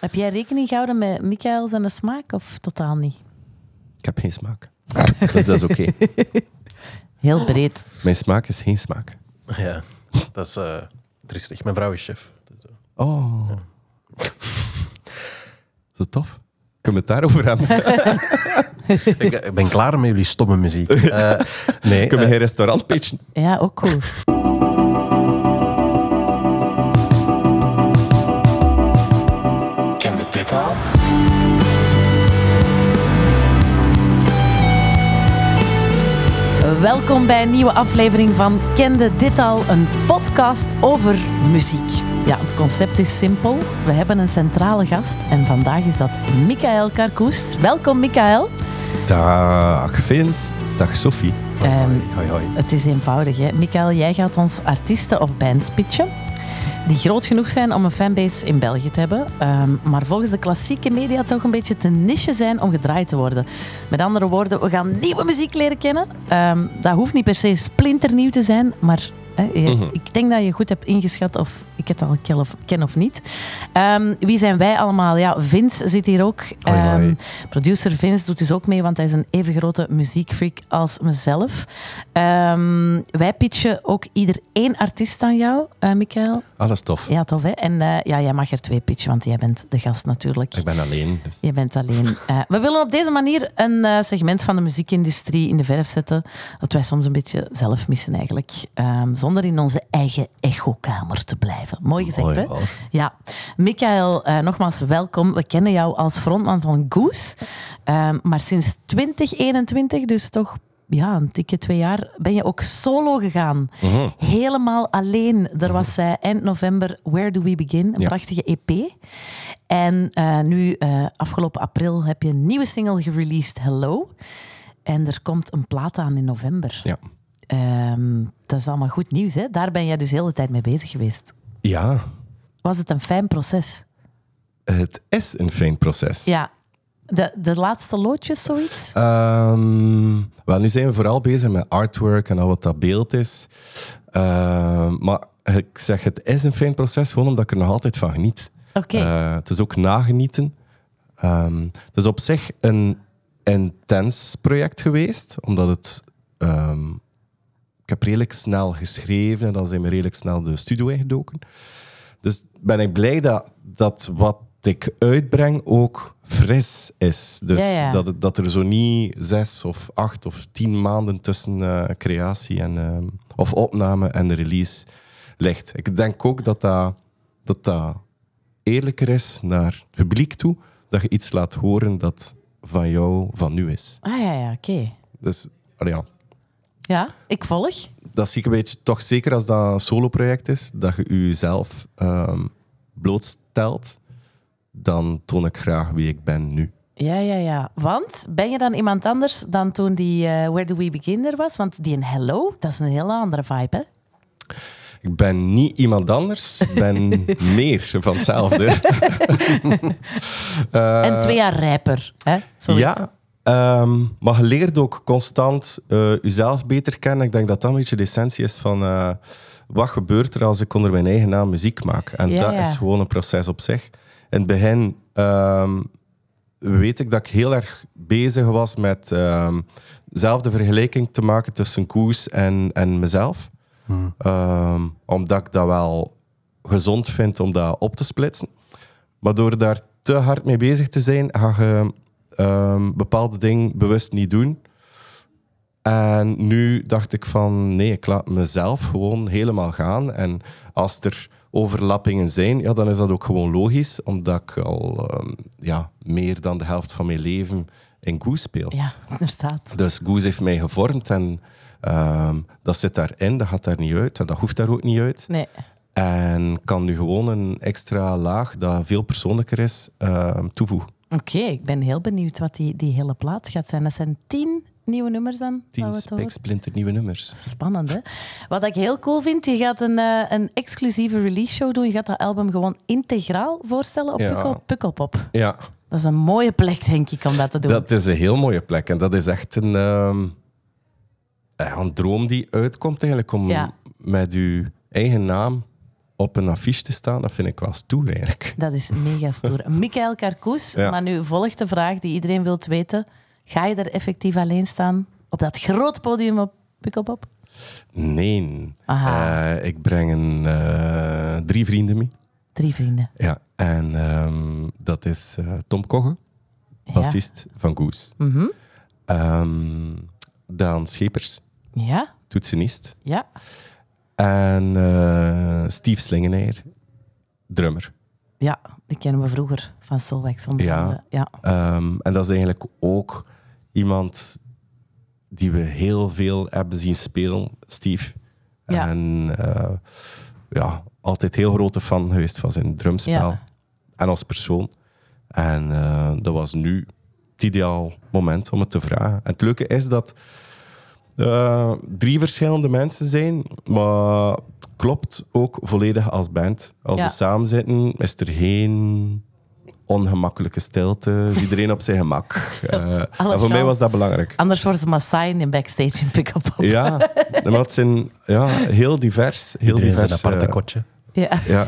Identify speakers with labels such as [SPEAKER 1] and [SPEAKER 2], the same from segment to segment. [SPEAKER 1] Heb jij rekening gehouden met Michael zijn smaak of totaal niet?
[SPEAKER 2] Ik heb geen smaak. dus dat is oké.
[SPEAKER 1] Heel breed.
[SPEAKER 2] Mijn smaak is geen smaak.
[SPEAKER 3] Ja, dat is eh triestig. Mijn vrouw is chef. Dus, eh,
[SPEAKER 2] Oh. Zo tof. Kunnen we het daarover hebben?
[SPEAKER 3] eh, ik, ik ben klaar met jullie stomme muziek. Eh, nee,
[SPEAKER 2] Kunnen
[SPEAKER 3] eh,
[SPEAKER 2] we geen restaurant pitchen?
[SPEAKER 1] Ja, ook cool.
[SPEAKER 4] Kende dit al?
[SPEAKER 1] Welkom bij een nieuwe aflevering van Kende Dit Al, een podcast over muziek. Ja, het concept is simpel. We hebben een centrale gast en vandaag is dat Michael Karkoes. Welkom, Michael.
[SPEAKER 2] Dag Vince. Dag Sophie.
[SPEAKER 1] Ehm,
[SPEAKER 3] Hoi, hoi.
[SPEAKER 1] het is eenvoudig, hè. Michael, jij gaat ons artiesten of bands pitchen die groot genoeg zijn om een fanbase in België te hebben, ehm, maar volgens de klassieke media toch een beetje te niche zijn om gedraaid te worden. Met andere woorden, we gaan nieuwe muziek leren kennen. Ehm, dat hoeft niet per se splinternieuw te zijn, maar hè, je-
[SPEAKER 2] Mhm.
[SPEAKER 1] ik denk dat je goed hebt ingeschat of ik het al ken of, ken of niet. Ehm, wie zijn wij allemaal? Ja, Vince zit hier ook.
[SPEAKER 3] Hoi, hoi.
[SPEAKER 1] Ehm, Producer Vince doet dus ook mee, want hij is een even grote muziekfreak als mezelf. Ehm, wij pitchen ook ieder één artiest aan jou, eh Michael.
[SPEAKER 2] Alles tof.
[SPEAKER 1] Ja, tof hè? En eh, ja, jij mag er twee pitchen, want jij bent de gast natuurlijk.
[SPEAKER 2] Ik ben alleen. Dus.
[SPEAKER 1] Je bent alleen. Eh, we willen op deze manier een eh, segment van de muziekindustrie in de verf zetten. Dat wij soms een beetje zelf missen eigenlijk. Ehm, zonder in onze eigen echokamer te blijven. Mooi gezegd
[SPEAKER 2] Mooi,
[SPEAKER 1] hè?
[SPEAKER 2] hoor.
[SPEAKER 1] Ja, Michael, eh, nogmaals welkom. We kennen jou als frontman van Goose. Ehm, maar sinds 2021, dus toch ja, een dikke twee jaar, ben je ook solo gegaan. Helemaal alleen. Er was eh, eind november Where Do We Begin, een
[SPEAKER 2] Ja.
[SPEAKER 1] prachtige EP. En eh, nu, eh, afgelopen april, heb je een nieuwe single gereleased, Hello. En er komt een plaat aan in november.
[SPEAKER 2] Ja.
[SPEAKER 1] Ehm, dat is allemaal goed nieuws, hè? Daar ben jij dus de hele tijd mee bezig geweest.
[SPEAKER 2] ja,
[SPEAKER 1] Was het een fijn proces?
[SPEAKER 2] het is een fijn proces.
[SPEAKER 1] Ja. De, de laatste loodjes, zoiets?
[SPEAKER 2] Ehm, wel, nu zijn we vooral bezig met artwork en al wat dat beeld is. Ehm, maar ik zeg, het is een fijn proces, gewoon omdat ik er nog altijd van geniet.
[SPEAKER 1] Oké.
[SPEAKER 2] Eh, het is ook nagenieten. Ehm, het is op zich een intens project geweest, omdat het... ehm, ik heb redelijk snel geschreven en dan zijn we redelijk snel de studio ingedoken. Dus ben ik blij dat, dat wat ik uitbreng ook fris is. Dus
[SPEAKER 1] Ja, ja.
[SPEAKER 2] Dat, het- dat er zo niet zes of acht of tien maanden tussen eh, creatie en, ehm, of opname en release ligt. Ik denk ook dat dat, dat dat eerlijker is naar het publiek toe, dat je iets laat horen dat van jou van nu is.
[SPEAKER 1] Ah ja, ja, oké.
[SPEAKER 2] Dus allee, ja,
[SPEAKER 1] Ja, ik volg.
[SPEAKER 2] dat zie ik een beetje, toch zeker als dat een solo-project is, dat je jezelf ehm, blootstelt, dan toon ik graag wie ik ben nu.
[SPEAKER 1] Ja, ja, ja. Want ben je dan iemand anders dan toen die eh, Where Do We Begin er was? Want die in Hello, dat is een hele andere vibe, hè?
[SPEAKER 2] Ik ben niet iemand anders, ik ben meer van hetzelfde.
[SPEAKER 1] en twee jaar rijper, hè? Zoiets.
[SPEAKER 2] Eh, ja, ehm, maar je leert ook constant eh, jezelf beter kennen. Ik denk dat dat een beetje de essentie is van eh, wat gebeurt er als ik onder mijn eigen naam muziek maak. En
[SPEAKER 1] Ja,
[SPEAKER 2] dat
[SPEAKER 1] ja.
[SPEAKER 2] is gewoon een proces op zich. In het begin ehm, weet ik dat ik heel erg bezig was met ehm, zelf de vergelijking te maken tussen Koes en, en mezelf. Ehm, omdat ik dat wel gezond vind om dat op te splitsen. Maar door daar te hard mee bezig te zijn, ga je ehm, bepaalde dingen bewust niet doen. En nu dacht ik van nee, ik laat mezelf gewoon helemaal gaan. En als er overlappingen zijn, ja, dan is dat ook gewoon logisch, omdat ik al ehm, ja, meer dan de helft van mijn leven in Goose speel.
[SPEAKER 1] Ja, inderdaad.
[SPEAKER 2] Dus Goose heeft mij gevormd en ehm, dat zit daarin, dat gaat daar niet uit en dat hoeft daar ook niet uit.
[SPEAKER 1] Nee.
[SPEAKER 2] En kan nu gewoon een extra laag dat veel persoonlijker is ehm, toevoegen.
[SPEAKER 1] Oké, ik ben heel benieuwd wat die, die hele plaat gaat zijn. Dat zijn tien nieuwe nummers dan? waar
[SPEAKER 2] Tien
[SPEAKER 1] we het over-
[SPEAKER 2] spiksplinter nieuwe nummers.
[SPEAKER 1] Spannend, hè? Wat ik heel cool vind, je gaat een, eh, een exclusieve release show doen. Je gaat dat album gewoon integraal voorstellen op
[SPEAKER 2] Ja.
[SPEAKER 1] Pukkel- Pukkelpop.
[SPEAKER 2] Ja,
[SPEAKER 1] Dat is een mooie plek, denk ik, om dat te doen.
[SPEAKER 2] dat is een heel mooie plek. En dat is echt een, ehm, ja, een droom die uitkomt eigenlijk om
[SPEAKER 1] Ja.
[SPEAKER 2] met uw eigen naam op een affiche te staan, dat vind ik wel stoer eigenlijk.
[SPEAKER 1] Dat is mega stoer. Michael Karkoes,
[SPEAKER 2] Ja.
[SPEAKER 1] maar nu volgt de vraag die iedereen wilt weten. Ga je er effectief alleen staan op dat groot podium op Pukkelpop?
[SPEAKER 2] Nee.
[SPEAKER 1] Aha.
[SPEAKER 2] Eh, ik breng een, eh, drie vrienden mee.
[SPEAKER 1] Drie vrienden.
[SPEAKER 2] Ja. En ehm, dat is eh, Tom Kogge,
[SPEAKER 1] Ja.
[SPEAKER 2] bassist van Goes.
[SPEAKER 1] Mhm.
[SPEAKER 2] Ehm, Daan Schepers,
[SPEAKER 1] Ja,
[SPEAKER 2] toetsenist.
[SPEAKER 1] ja.
[SPEAKER 2] En eh, Steve Slingeneer, drummer.
[SPEAKER 1] Ja, die kennen we vroeger van Solwax onder
[SPEAKER 2] Ja.
[SPEAKER 1] andere. Ja.
[SPEAKER 2] Ehm, en dat is eigenlijk ook iemand die we heel veel hebben zien spelen, Steve.
[SPEAKER 1] Ja.
[SPEAKER 2] En eh, ja, altijd heel grote fan geweest van zijn drumspel.
[SPEAKER 1] Ja.
[SPEAKER 2] En als persoon. En eh, dat was nu het ideaal moment om het te vragen. En het leuke is dat eh, drie verschillende mensen zijn, maar het klopt ook volledig als band. Als
[SPEAKER 1] Ja.
[SPEAKER 2] we samen zitten, is er geen ongemakkelijke stilte. Is iedereen op zijn gemak. Eh, en voor
[SPEAKER 1] wel.
[SPEAKER 2] mij was dat belangrijk.
[SPEAKER 1] Anders wordt het Maasai in de backstage in Pukkelpop.
[SPEAKER 2] Ja, maar het zijn ja, heel divers. Heel
[SPEAKER 3] Iedereen
[SPEAKER 2] divers.
[SPEAKER 3] zijn aparte
[SPEAKER 2] eh,
[SPEAKER 3] kotje.
[SPEAKER 1] Ja.
[SPEAKER 2] ja,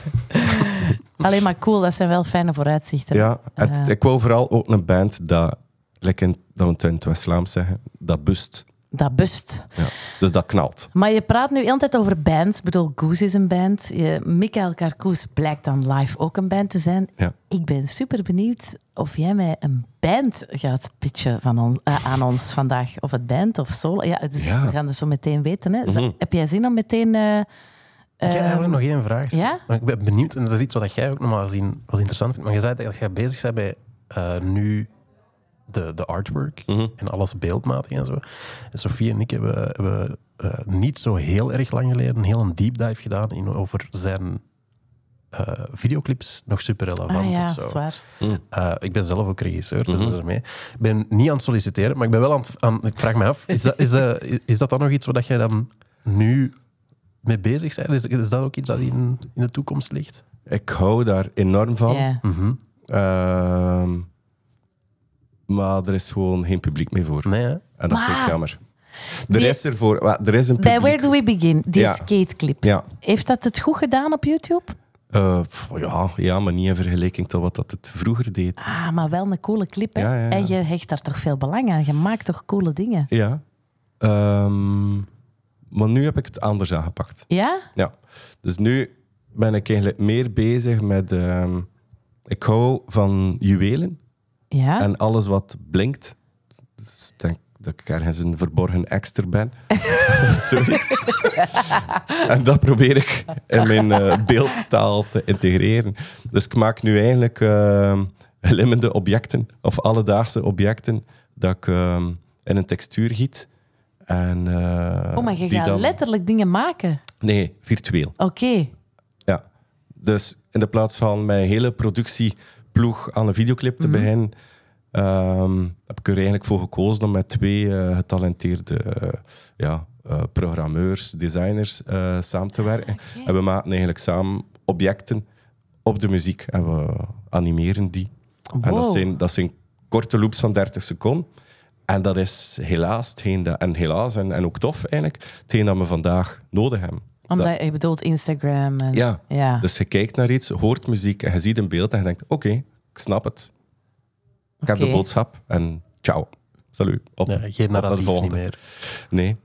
[SPEAKER 1] Alleen maar cool, dat zijn wel fijne vooruitzichten.
[SPEAKER 2] ja. Het-
[SPEAKER 1] Eh.
[SPEAKER 2] ik wou vooral ook een band dat, like in, dat we het in het West-Vlaams zeggen, dat bust.
[SPEAKER 1] Dat bust.
[SPEAKER 2] Ja. Dus dat knalt.
[SPEAKER 1] Maar je praat nu altijd over bands. Ik bedoel, Goose is een band. Je, Michael Karkoes blijkt dan live ook een band te zijn.
[SPEAKER 2] Ja.
[SPEAKER 1] Ik ben super benieuwd of jij mij een band gaat pitchen van ons, eh, aan ons vandaag. Of het band of solo. Ja, dus
[SPEAKER 2] Ja. Mhm.
[SPEAKER 1] we gaan het zo meteen weten. Hè. Z- Heb jij zin om meteen... eh,
[SPEAKER 3] ik heb eigenlijk nog één vraag.
[SPEAKER 1] ja?
[SPEAKER 3] Maar ik ben benieuwd, en dat is iets wat jij ook nog maar zien, wat interessant vindt. Maar je zei dat jij bezig bent bij eh, nu de, de artwork
[SPEAKER 2] Mhm.
[SPEAKER 3] en alles beeldmatig en zo. En Sofie en ik hebben, hebben eh, niet zo heel erg lang geleden een heel een deep dive gedaan in, over zijn eh, videoclips. Nog super relevant
[SPEAKER 1] ah ja,
[SPEAKER 3] of zo.
[SPEAKER 1] zwaar.
[SPEAKER 3] Eh, ik ben zelf ook regisseur, dus dat is ermee. Ik ben niet aan het solliciteren, maar ik ben wel aan het... Aan, ik vraag me af, is dat, is, dat, is dat dan nog iets waar jij dan nu mee bezig bent? Is, is dat ook iets dat in, in de toekomst ligt?
[SPEAKER 2] Ik hou daar enorm van.
[SPEAKER 1] Ja.
[SPEAKER 3] Mhm.
[SPEAKER 2] Ehm, maar er is gewoon geen publiek meer voor.
[SPEAKER 3] Nee, hè?
[SPEAKER 2] En dat vind ik
[SPEAKER 1] Maar-
[SPEAKER 2] jammer. Er
[SPEAKER 1] Die-
[SPEAKER 2] is er voor. wa- Er is een publiek.
[SPEAKER 1] Bij Where Do We Begin, die
[SPEAKER 2] Ja.
[SPEAKER 1] skateclip.
[SPEAKER 2] Ja.
[SPEAKER 1] Heeft dat het goed gedaan op YouTube?
[SPEAKER 2] Eh, pff, ja, ja, maar niet in vergelijking tot wat dat het vroeger deed.
[SPEAKER 1] Ah, maar wel een coole clip. Hè?
[SPEAKER 2] Ja, ja, ja.
[SPEAKER 1] En je hecht daar toch veel belang aan. Je maakt toch coole dingen.
[SPEAKER 2] Ja. Ehm, maar nu heb ik het anders aangepakt.
[SPEAKER 1] Ja?
[SPEAKER 2] Ja. Dus nu ben ik eigenlijk meer bezig met... ehm, ik hou van juwelen.
[SPEAKER 1] Ja.
[SPEAKER 2] En alles wat blinkt. Dus ik denk dat ik ergens een verborgen extra ben. Zoiets. en dat probeer ik in mijn eh, beeldtaal te integreren. Dus ik maak nu eigenlijk ehm glimmende objecten, of alledaagse objecten, dat ik ehm, in een textuur giet. En, eh,
[SPEAKER 1] oh, maar je
[SPEAKER 2] die
[SPEAKER 1] gaat
[SPEAKER 2] dan-
[SPEAKER 1] letterlijk dingen maken.
[SPEAKER 2] Nee, virtueel.
[SPEAKER 1] Oké.
[SPEAKER 2] Ja. Dus in de plaats van mijn hele productieploeg aan een videoclip
[SPEAKER 1] Mhm.
[SPEAKER 2] te beginnen, ehm, heb ik er eigenlijk voor gekozen om met twee eh, getalenteerde eh, ja, eh, programmeurs, designers eh, samen te werken.
[SPEAKER 1] Ah, oké.
[SPEAKER 2] En we maken eigenlijk samen objecten op de muziek en we animeren die. En dat
[SPEAKER 1] Wow.
[SPEAKER 2] zijn, dat zijn korte loops van 30 seconden. En dat is helaas, hetgeen dat, en, helaas en, en ook tof eigenlijk, hetgeen dat we vandaag nodig hebben.
[SPEAKER 1] Omdat je bedoelt Instagram. En,
[SPEAKER 2] Ja.
[SPEAKER 1] ja.
[SPEAKER 2] Dus je kijkt naar iets, hoort muziek en je ziet een beeld en je denkt, oké, ik snap het. Ik heb
[SPEAKER 1] Oké.
[SPEAKER 2] de boodschap en ciao. Salut. Op.
[SPEAKER 3] Ja, geen
[SPEAKER 2] naar de
[SPEAKER 3] narratief niet
[SPEAKER 2] volgende.
[SPEAKER 3] meer.
[SPEAKER 2] Nee.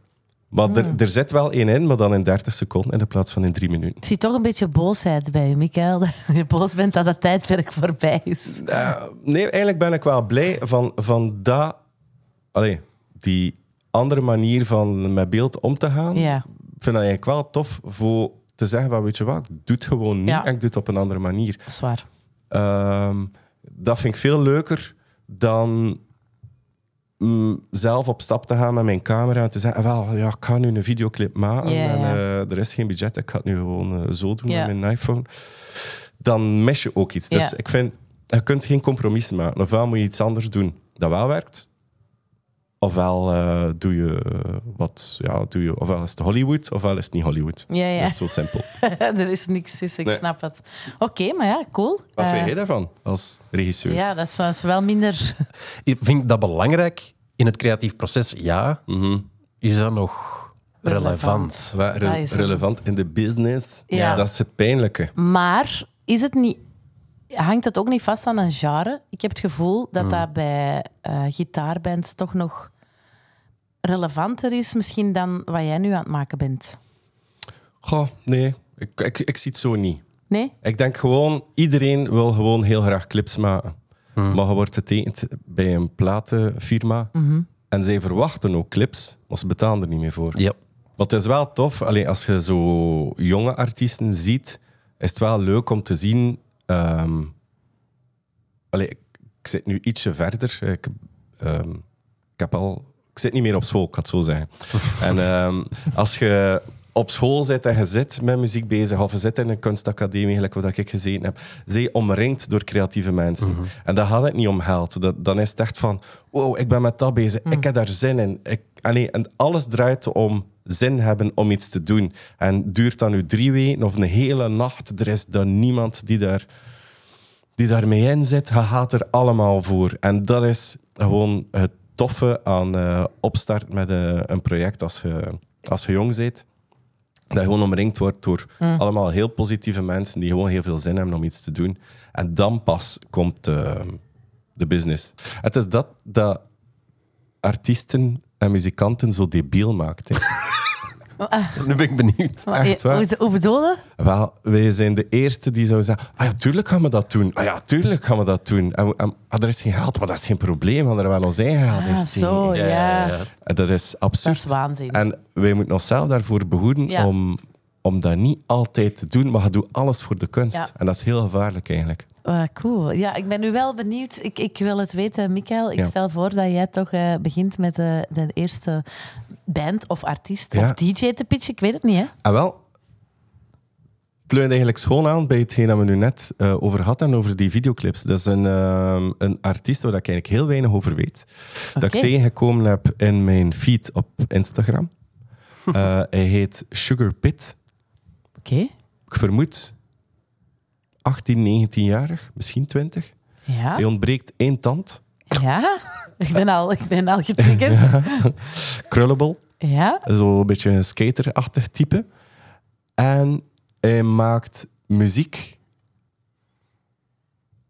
[SPEAKER 2] Maar
[SPEAKER 1] Ah.
[SPEAKER 2] er, er zit wel één in, maar dan in 30 seconden in de plaats van in drie minuten.
[SPEAKER 1] Ik zie toch een beetje boosheid bij je, Michael. Dat je boos bent dat dat tijdperk voorbij is.
[SPEAKER 2] Eh, nee, eigenlijk ben ik wel blij van, van dat... Allee, die andere manier van met beeld om te gaan.
[SPEAKER 1] Ja.
[SPEAKER 2] Ik vind dat eigenlijk wel tof voor te zeggen van, weet je wat, ik doe het gewoon niet
[SPEAKER 1] Ja.
[SPEAKER 2] en ik doe het op een andere manier.
[SPEAKER 1] Dat is waar.
[SPEAKER 2] Ehm, dat vind ik veel leuker dan mm, zelf op stap te gaan met mijn camera en te zeggen: "Ah, wel, ja, ik ga nu een videoclip maken
[SPEAKER 1] Ja,
[SPEAKER 2] en
[SPEAKER 1] ja.
[SPEAKER 2] eh, er is geen budget, ik ga het nu gewoon eh, zo doen
[SPEAKER 1] Ja.
[SPEAKER 2] met mijn iPhone. Dan mis je ook iets. Dus
[SPEAKER 1] Ja.
[SPEAKER 2] ik vind, je kunt geen compromis maken. Ofwel moet je iets anders doen dat wel werkt, ofwel eh, doe je eh, wat, ja, doe je, ofwel is het Hollywood, ofwel is het niet Hollywood.
[SPEAKER 1] Ja, ja.
[SPEAKER 2] Dat is zo simpel.
[SPEAKER 1] er is niks, dus ik
[SPEAKER 2] Nee.
[SPEAKER 1] snap het. Oké, maar ja, cool.
[SPEAKER 2] Wat
[SPEAKER 1] Eh,
[SPEAKER 2] vind jij daarvan als regisseur?
[SPEAKER 1] ja, dat is, dat is wel minder.
[SPEAKER 3] Mhm. Ik vind dat belangrijk in het creatief proces, ja. Is dat nog... relevant.
[SPEAKER 2] Wa- re-
[SPEAKER 1] Dat is het.
[SPEAKER 2] relevant in de business.
[SPEAKER 1] Ja.
[SPEAKER 2] Dat is het pijnlijke.
[SPEAKER 1] Maar is het niet, hangt het ook niet vast aan een genre? Ik heb het gevoel dat dat bij eh, gitaarbands toch nog relevanter is misschien dan wat jij nu aan het maken bent.
[SPEAKER 2] Goh, nee. Ik, ik, ik zie het zo niet.
[SPEAKER 1] Nee?
[SPEAKER 2] Ik denk gewoon, iedereen wil gewoon heel graag clips maken. Maar je wordt getekend bij een platenfirma.
[SPEAKER 1] Mhm.
[SPEAKER 2] En zij verwachten ook clips, maar ze betalen er niet meer voor.
[SPEAKER 3] Ja.
[SPEAKER 2] Maar het is wel tof, alleen als je zo jonge artiesten ziet, is het wel leuk om te zien. ehm, allee, ik, ik zit nu ietsje verder. Ik, ehm, ik, heb al, ik zit niet meer op school, ik ga het zo zeggen. en ehm, als je op school zit en je zit met muziek bezig, of je zit in een kunstacademie, gelijk wat ik gezeten heb, zij omringd door creatieve mensen. En daar gaat het niet om geld. Dat, dan is het echt van, wow, ik ben met dat bezig, ik heb daar zin in. Ik, allee, en alles draait om zin hebben om iets te doen. En duurt dat nu drie weken of een hele nacht, er is dan niemand die daar die daarmee in zit, hij gaat er allemaal voor. En dat is gewoon het toffe aan eh, opstart met eh, een project als je, als je jong bent. Dat je gewoon omringd wordt door
[SPEAKER 1] Mm.
[SPEAKER 2] allemaal heel positieve mensen die gewoon heel veel zin hebben om iets te doen. En dan pas komt eh, de business. Het is dat dat artiesten en muzikanten zo debiel maakt. hè.
[SPEAKER 3] Nu ben ik benieuwd.
[SPEAKER 1] Maar,
[SPEAKER 2] Ah,
[SPEAKER 1] eh,
[SPEAKER 2] Echt waar?
[SPEAKER 1] Hoe, hoe bedoel je?
[SPEAKER 2] Wel, wij zijn de eerste die zou zeggen: Ah ja, tuurlijk gaan we dat doen. Ah ja, tuurlijk gaan we dat doen. En, we- en, ah, er is geen geld, maar dat is geen probleem, want er wel ons eigen geld
[SPEAKER 1] Ah,
[SPEAKER 2] is.
[SPEAKER 1] zo, ja.
[SPEAKER 2] En dat is absurd.
[SPEAKER 1] Dat is waanzin.
[SPEAKER 2] En wij moeten onszelf daarvoor behoeden
[SPEAKER 1] Ja.
[SPEAKER 2] om, om dat niet altijd te doen, maar je doet alles voor de kunst.
[SPEAKER 1] Ja.
[SPEAKER 2] En dat is heel gevaarlijk eigenlijk.
[SPEAKER 1] Ah, cool. Ja, ik ben nu wel benieuwd. Ik, ik wil het weten, Michael. Ik
[SPEAKER 2] Ja.
[SPEAKER 1] stel voor dat jij toch eh, begint met de, de eerste band of artiest
[SPEAKER 2] Ja.
[SPEAKER 1] of DJ te pitchen. Ik weet het niet, hè?
[SPEAKER 2] En Ah, wel, het leunt eigenlijk schoon aan bij hetgeen dat we nu net eh, over hadden en over die videoclips. Dat is een, ehm, een artiest waar ik eigenlijk heel weinig over weet. Dat ik
[SPEAKER 1] Oké.
[SPEAKER 2] tegengekomen heb in mijn feed op Instagram. Eh, hij heet Sugar Pit.
[SPEAKER 1] Oké.
[SPEAKER 2] Ik vermoed 18, 19-jarig, misschien 20.
[SPEAKER 1] Ja.
[SPEAKER 2] Hij ontbreekt één tand.
[SPEAKER 1] ja. Ik ben al, ik ben al getriggerd. Ja.
[SPEAKER 2] Krullable. Zo'n beetje een skaterachtig type. En hij maakt muziek.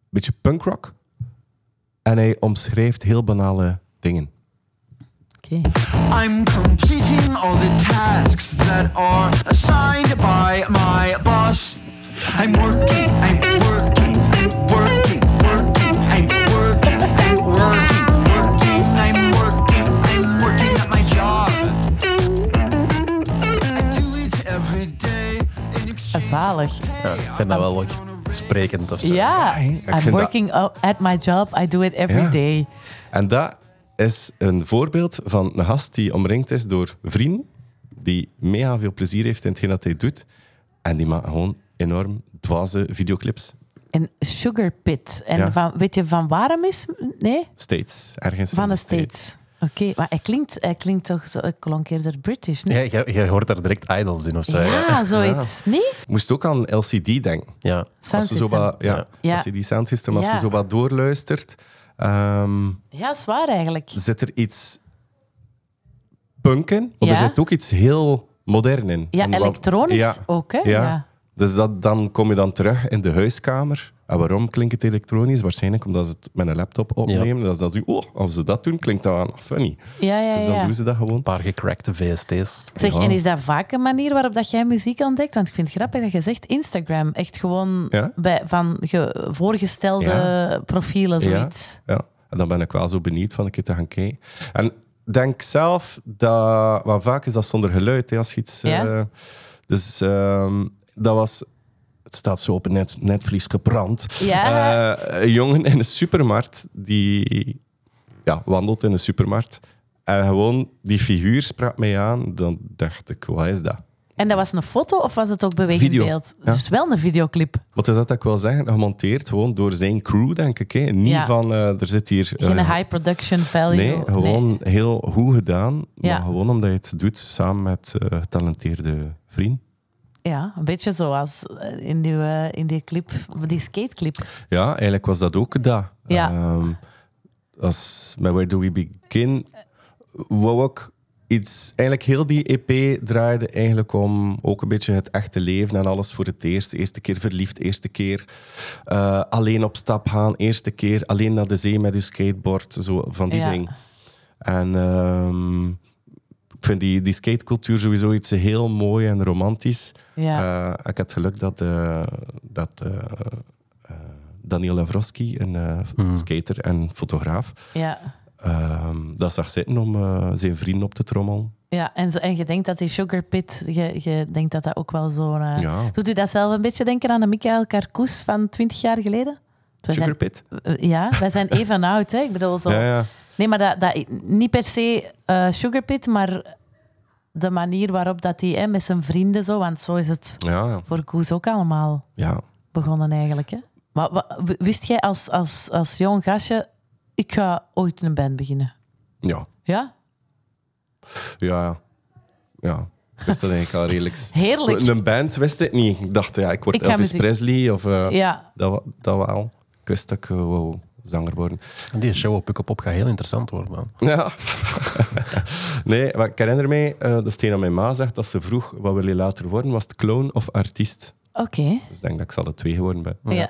[SPEAKER 2] Beetje punkrock. En hij omschrijft heel banale dingen.
[SPEAKER 1] Oké.
[SPEAKER 4] I'm completing all the tasks that are assigned by my boss. I'm working, I'm working, I'm working, working, I'm working, I'm working, working, I'm working, I'm working at my job. I do it every day in exchange
[SPEAKER 1] Zalig.
[SPEAKER 4] for pay.
[SPEAKER 3] Ik vind dat wel ook sprekend of zo.
[SPEAKER 1] Ja.
[SPEAKER 2] hè? Ik vind
[SPEAKER 1] I'm
[SPEAKER 2] dat-
[SPEAKER 1] working o- at my job. I do it every
[SPEAKER 2] Ja.
[SPEAKER 1] day.
[SPEAKER 2] En dat is een voorbeeld van een gast die omringd is door vrienden. Die mega veel plezier heeft in hetgeen dat hij doet. En die maakt gewoon enorm dwaze videoclips.
[SPEAKER 1] En Sugar Pit. En
[SPEAKER 2] Ja.
[SPEAKER 1] van, weet je van waarom is... Nee?
[SPEAKER 2] Steeds. Ergens. in
[SPEAKER 1] Van de States. Oké. Maar hij klinkt, hij klinkt toch... Zo, ik klonk eerder British, nee?
[SPEAKER 3] Ja, je, je hoort daar direct idols in of zo.
[SPEAKER 1] Ja,
[SPEAKER 3] Ja.
[SPEAKER 1] zoiets. Nee?
[SPEAKER 2] Moest ook aan LCD denken.
[SPEAKER 3] ja.
[SPEAKER 1] Sound
[SPEAKER 2] als je zo
[SPEAKER 1] system.
[SPEAKER 2] wat, ja,
[SPEAKER 1] Ja.
[SPEAKER 2] Als je die sound system, als
[SPEAKER 1] Ja.
[SPEAKER 2] je zo wat doorluistert, ehm,
[SPEAKER 1] Ja, zwaar eigenlijk.
[SPEAKER 2] zit er iets punk in, maar er
[SPEAKER 1] Ja.
[SPEAKER 2] zit ook iets heel modern in.
[SPEAKER 1] Ja,
[SPEAKER 2] Omdat-
[SPEAKER 1] elektronisch
[SPEAKER 2] Ja.
[SPEAKER 1] ook, hè?
[SPEAKER 2] Ja.
[SPEAKER 1] Ja.
[SPEAKER 2] Dus dat, dan kom je dan terug in de huiskamer. En waarom klinkt het elektronisch? Waarschijnlijk omdat ze het met een laptop opnemen. Dat is dan zo, oh, als ze dat doen, klinkt dat wel funny.
[SPEAKER 1] Ja, ja,
[SPEAKER 2] Dus dan
[SPEAKER 1] ja.
[SPEAKER 2] doen ze dat gewoon.
[SPEAKER 3] Een paar gecrackte VST's.
[SPEAKER 1] Zeg,
[SPEAKER 2] Ja.
[SPEAKER 1] en is dat vaak een manier waarop dat jij muziek ontdekt? Want ik vind het grappig dat je zegt Instagram. Echt gewoon
[SPEAKER 2] Ja.
[SPEAKER 1] bij, van ge- voorgestelde
[SPEAKER 2] Ja.
[SPEAKER 1] profielen, zoiets.
[SPEAKER 2] Ja, ja. En dan ben ik wel zo benieuwd van een keer te gaan kijken. En denk zelf dat... Want vaak is dat zonder geluid, hè, als je iets...
[SPEAKER 1] Ja.
[SPEAKER 2] eh, dus ehm, dat was... Het staat zo op een net, netvlies gebrand.
[SPEAKER 1] Ja.
[SPEAKER 2] Eh, een jongen in een supermarkt die ja, wandelt in een supermarkt. En gewoon die figuur sprak mij aan. Dan dacht ik, wat is dat?
[SPEAKER 1] En dat was een foto of was het ook bewegend
[SPEAKER 2] Video.
[SPEAKER 1] beeld?
[SPEAKER 2] Ja.
[SPEAKER 1] Dus wel een videoclip.
[SPEAKER 2] Wat is dat dat ik wil zeggen? Gemonteerd gewoon door zijn crew, denk ik. Hè? Niet
[SPEAKER 1] Ja.
[SPEAKER 2] van, eh, er zit hier...
[SPEAKER 1] Geen
[SPEAKER 2] eh,
[SPEAKER 1] high production value.
[SPEAKER 2] Nee, gewoon heel goed gedaan.
[SPEAKER 1] Ja.
[SPEAKER 2] Maar gewoon omdat je het doet samen met eh getalenteerde vriend.
[SPEAKER 1] Ja, een beetje zoals eh, in die, eh, in die clip, die skateclip.
[SPEAKER 2] Ja, eigenlijk was dat ook dat.
[SPEAKER 1] Ja.
[SPEAKER 2] Ehm, als, met Where Do We Begin wou ik iets, eigenlijk heel die EP draaide eigenlijk om ook een beetje het echte leven en alles voor het eerst. Eerste keer verliefd, eerste keer eh, alleen op stap gaan, eerste keer alleen naar de zee met je skateboard, zo van die
[SPEAKER 1] Ja.
[SPEAKER 2] dingen. En ehm, ik vind die, die skatecultuur sowieso iets heel mooi en romantisch.
[SPEAKER 1] Ja.
[SPEAKER 2] Eh, ik had geluk dat, eh, dat eh, eh, Daniel Lavroski, een eh,
[SPEAKER 1] Mm.
[SPEAKER 2] skater en fotograaf,
[SPEAKER 1] ja.
[SPEAKER 2] ehm, dat zag zitten om eh, zijn vrienden op te trommelen.
[SPEAKER 1] Ja, en, zo, en je denkt dat die Sugar Pit, je, je denkt dat dat ook wel zo'n... eh,
[SPEAKER 2] Ja.
[SPEAKER 1] Doet u dat zelf een beetje denken aan de Michael Carcous van 20 jaar geleden? Wij zijn-
[SPEAKER 2] Sugar Pit?
[SPEAKER 1] eh, ja, wij zijn even oud, hè. Ik bedoel, zo...
[SPEAKER 2] Ja, ja.
[SPEAKER 1] Nee, maar dat, dat, niet per se eh Sugar Pit, maar de manier waarop dat hij hè, met zijn vrienden zo... Want zo is het
[SPEAKER 2] Ja, ja.
[SPEAKER 1] voor Koes ook allemaal
[SPEAKER 2] ja.
[SPEAKER 1] begonnen eigenlijk. Hè? Maar wa- w- wist jij als, als, als jong gastje, ik ga ooit een band beginnen?
[SPEAKER 2] ja.
[SPEAKER 1] Ja?
[SPEAKER 2] ja. ja. Ik wist dat eigenlijk al redelijk.
[SPEAKER 1] Heerlijk.
[SPEAKER 2] Een band wist ik niet. Ik dacht, ja, ik word
[SPEAKER 1] Ik ga
[SPEAKER 2] Elvis
[SPEAKER 1] muziek-
[SPEAKER 2] Presley of... eh,
[SPEAKER 1] Ja.
[SPEAKER 2] dat, wa- dat wel. Ik wist dat ik eh, wou zanger worden.
[SPEAKER 3] En die show op Pukkelpop gaat heel interessant worden, man.
[SPEAKER 2] Ja. nee, maar ik herinner mij, eh dat Steen aan mijn ma zegt, dat ze vroeg, wat wil je later worden? Was het clown of artiest?
[SPEAKER 1] Oké.
[SPEAKER 2] Dus ik denk dat ik ze alle twee geworden ben.
[SPEAKER 1] Ja.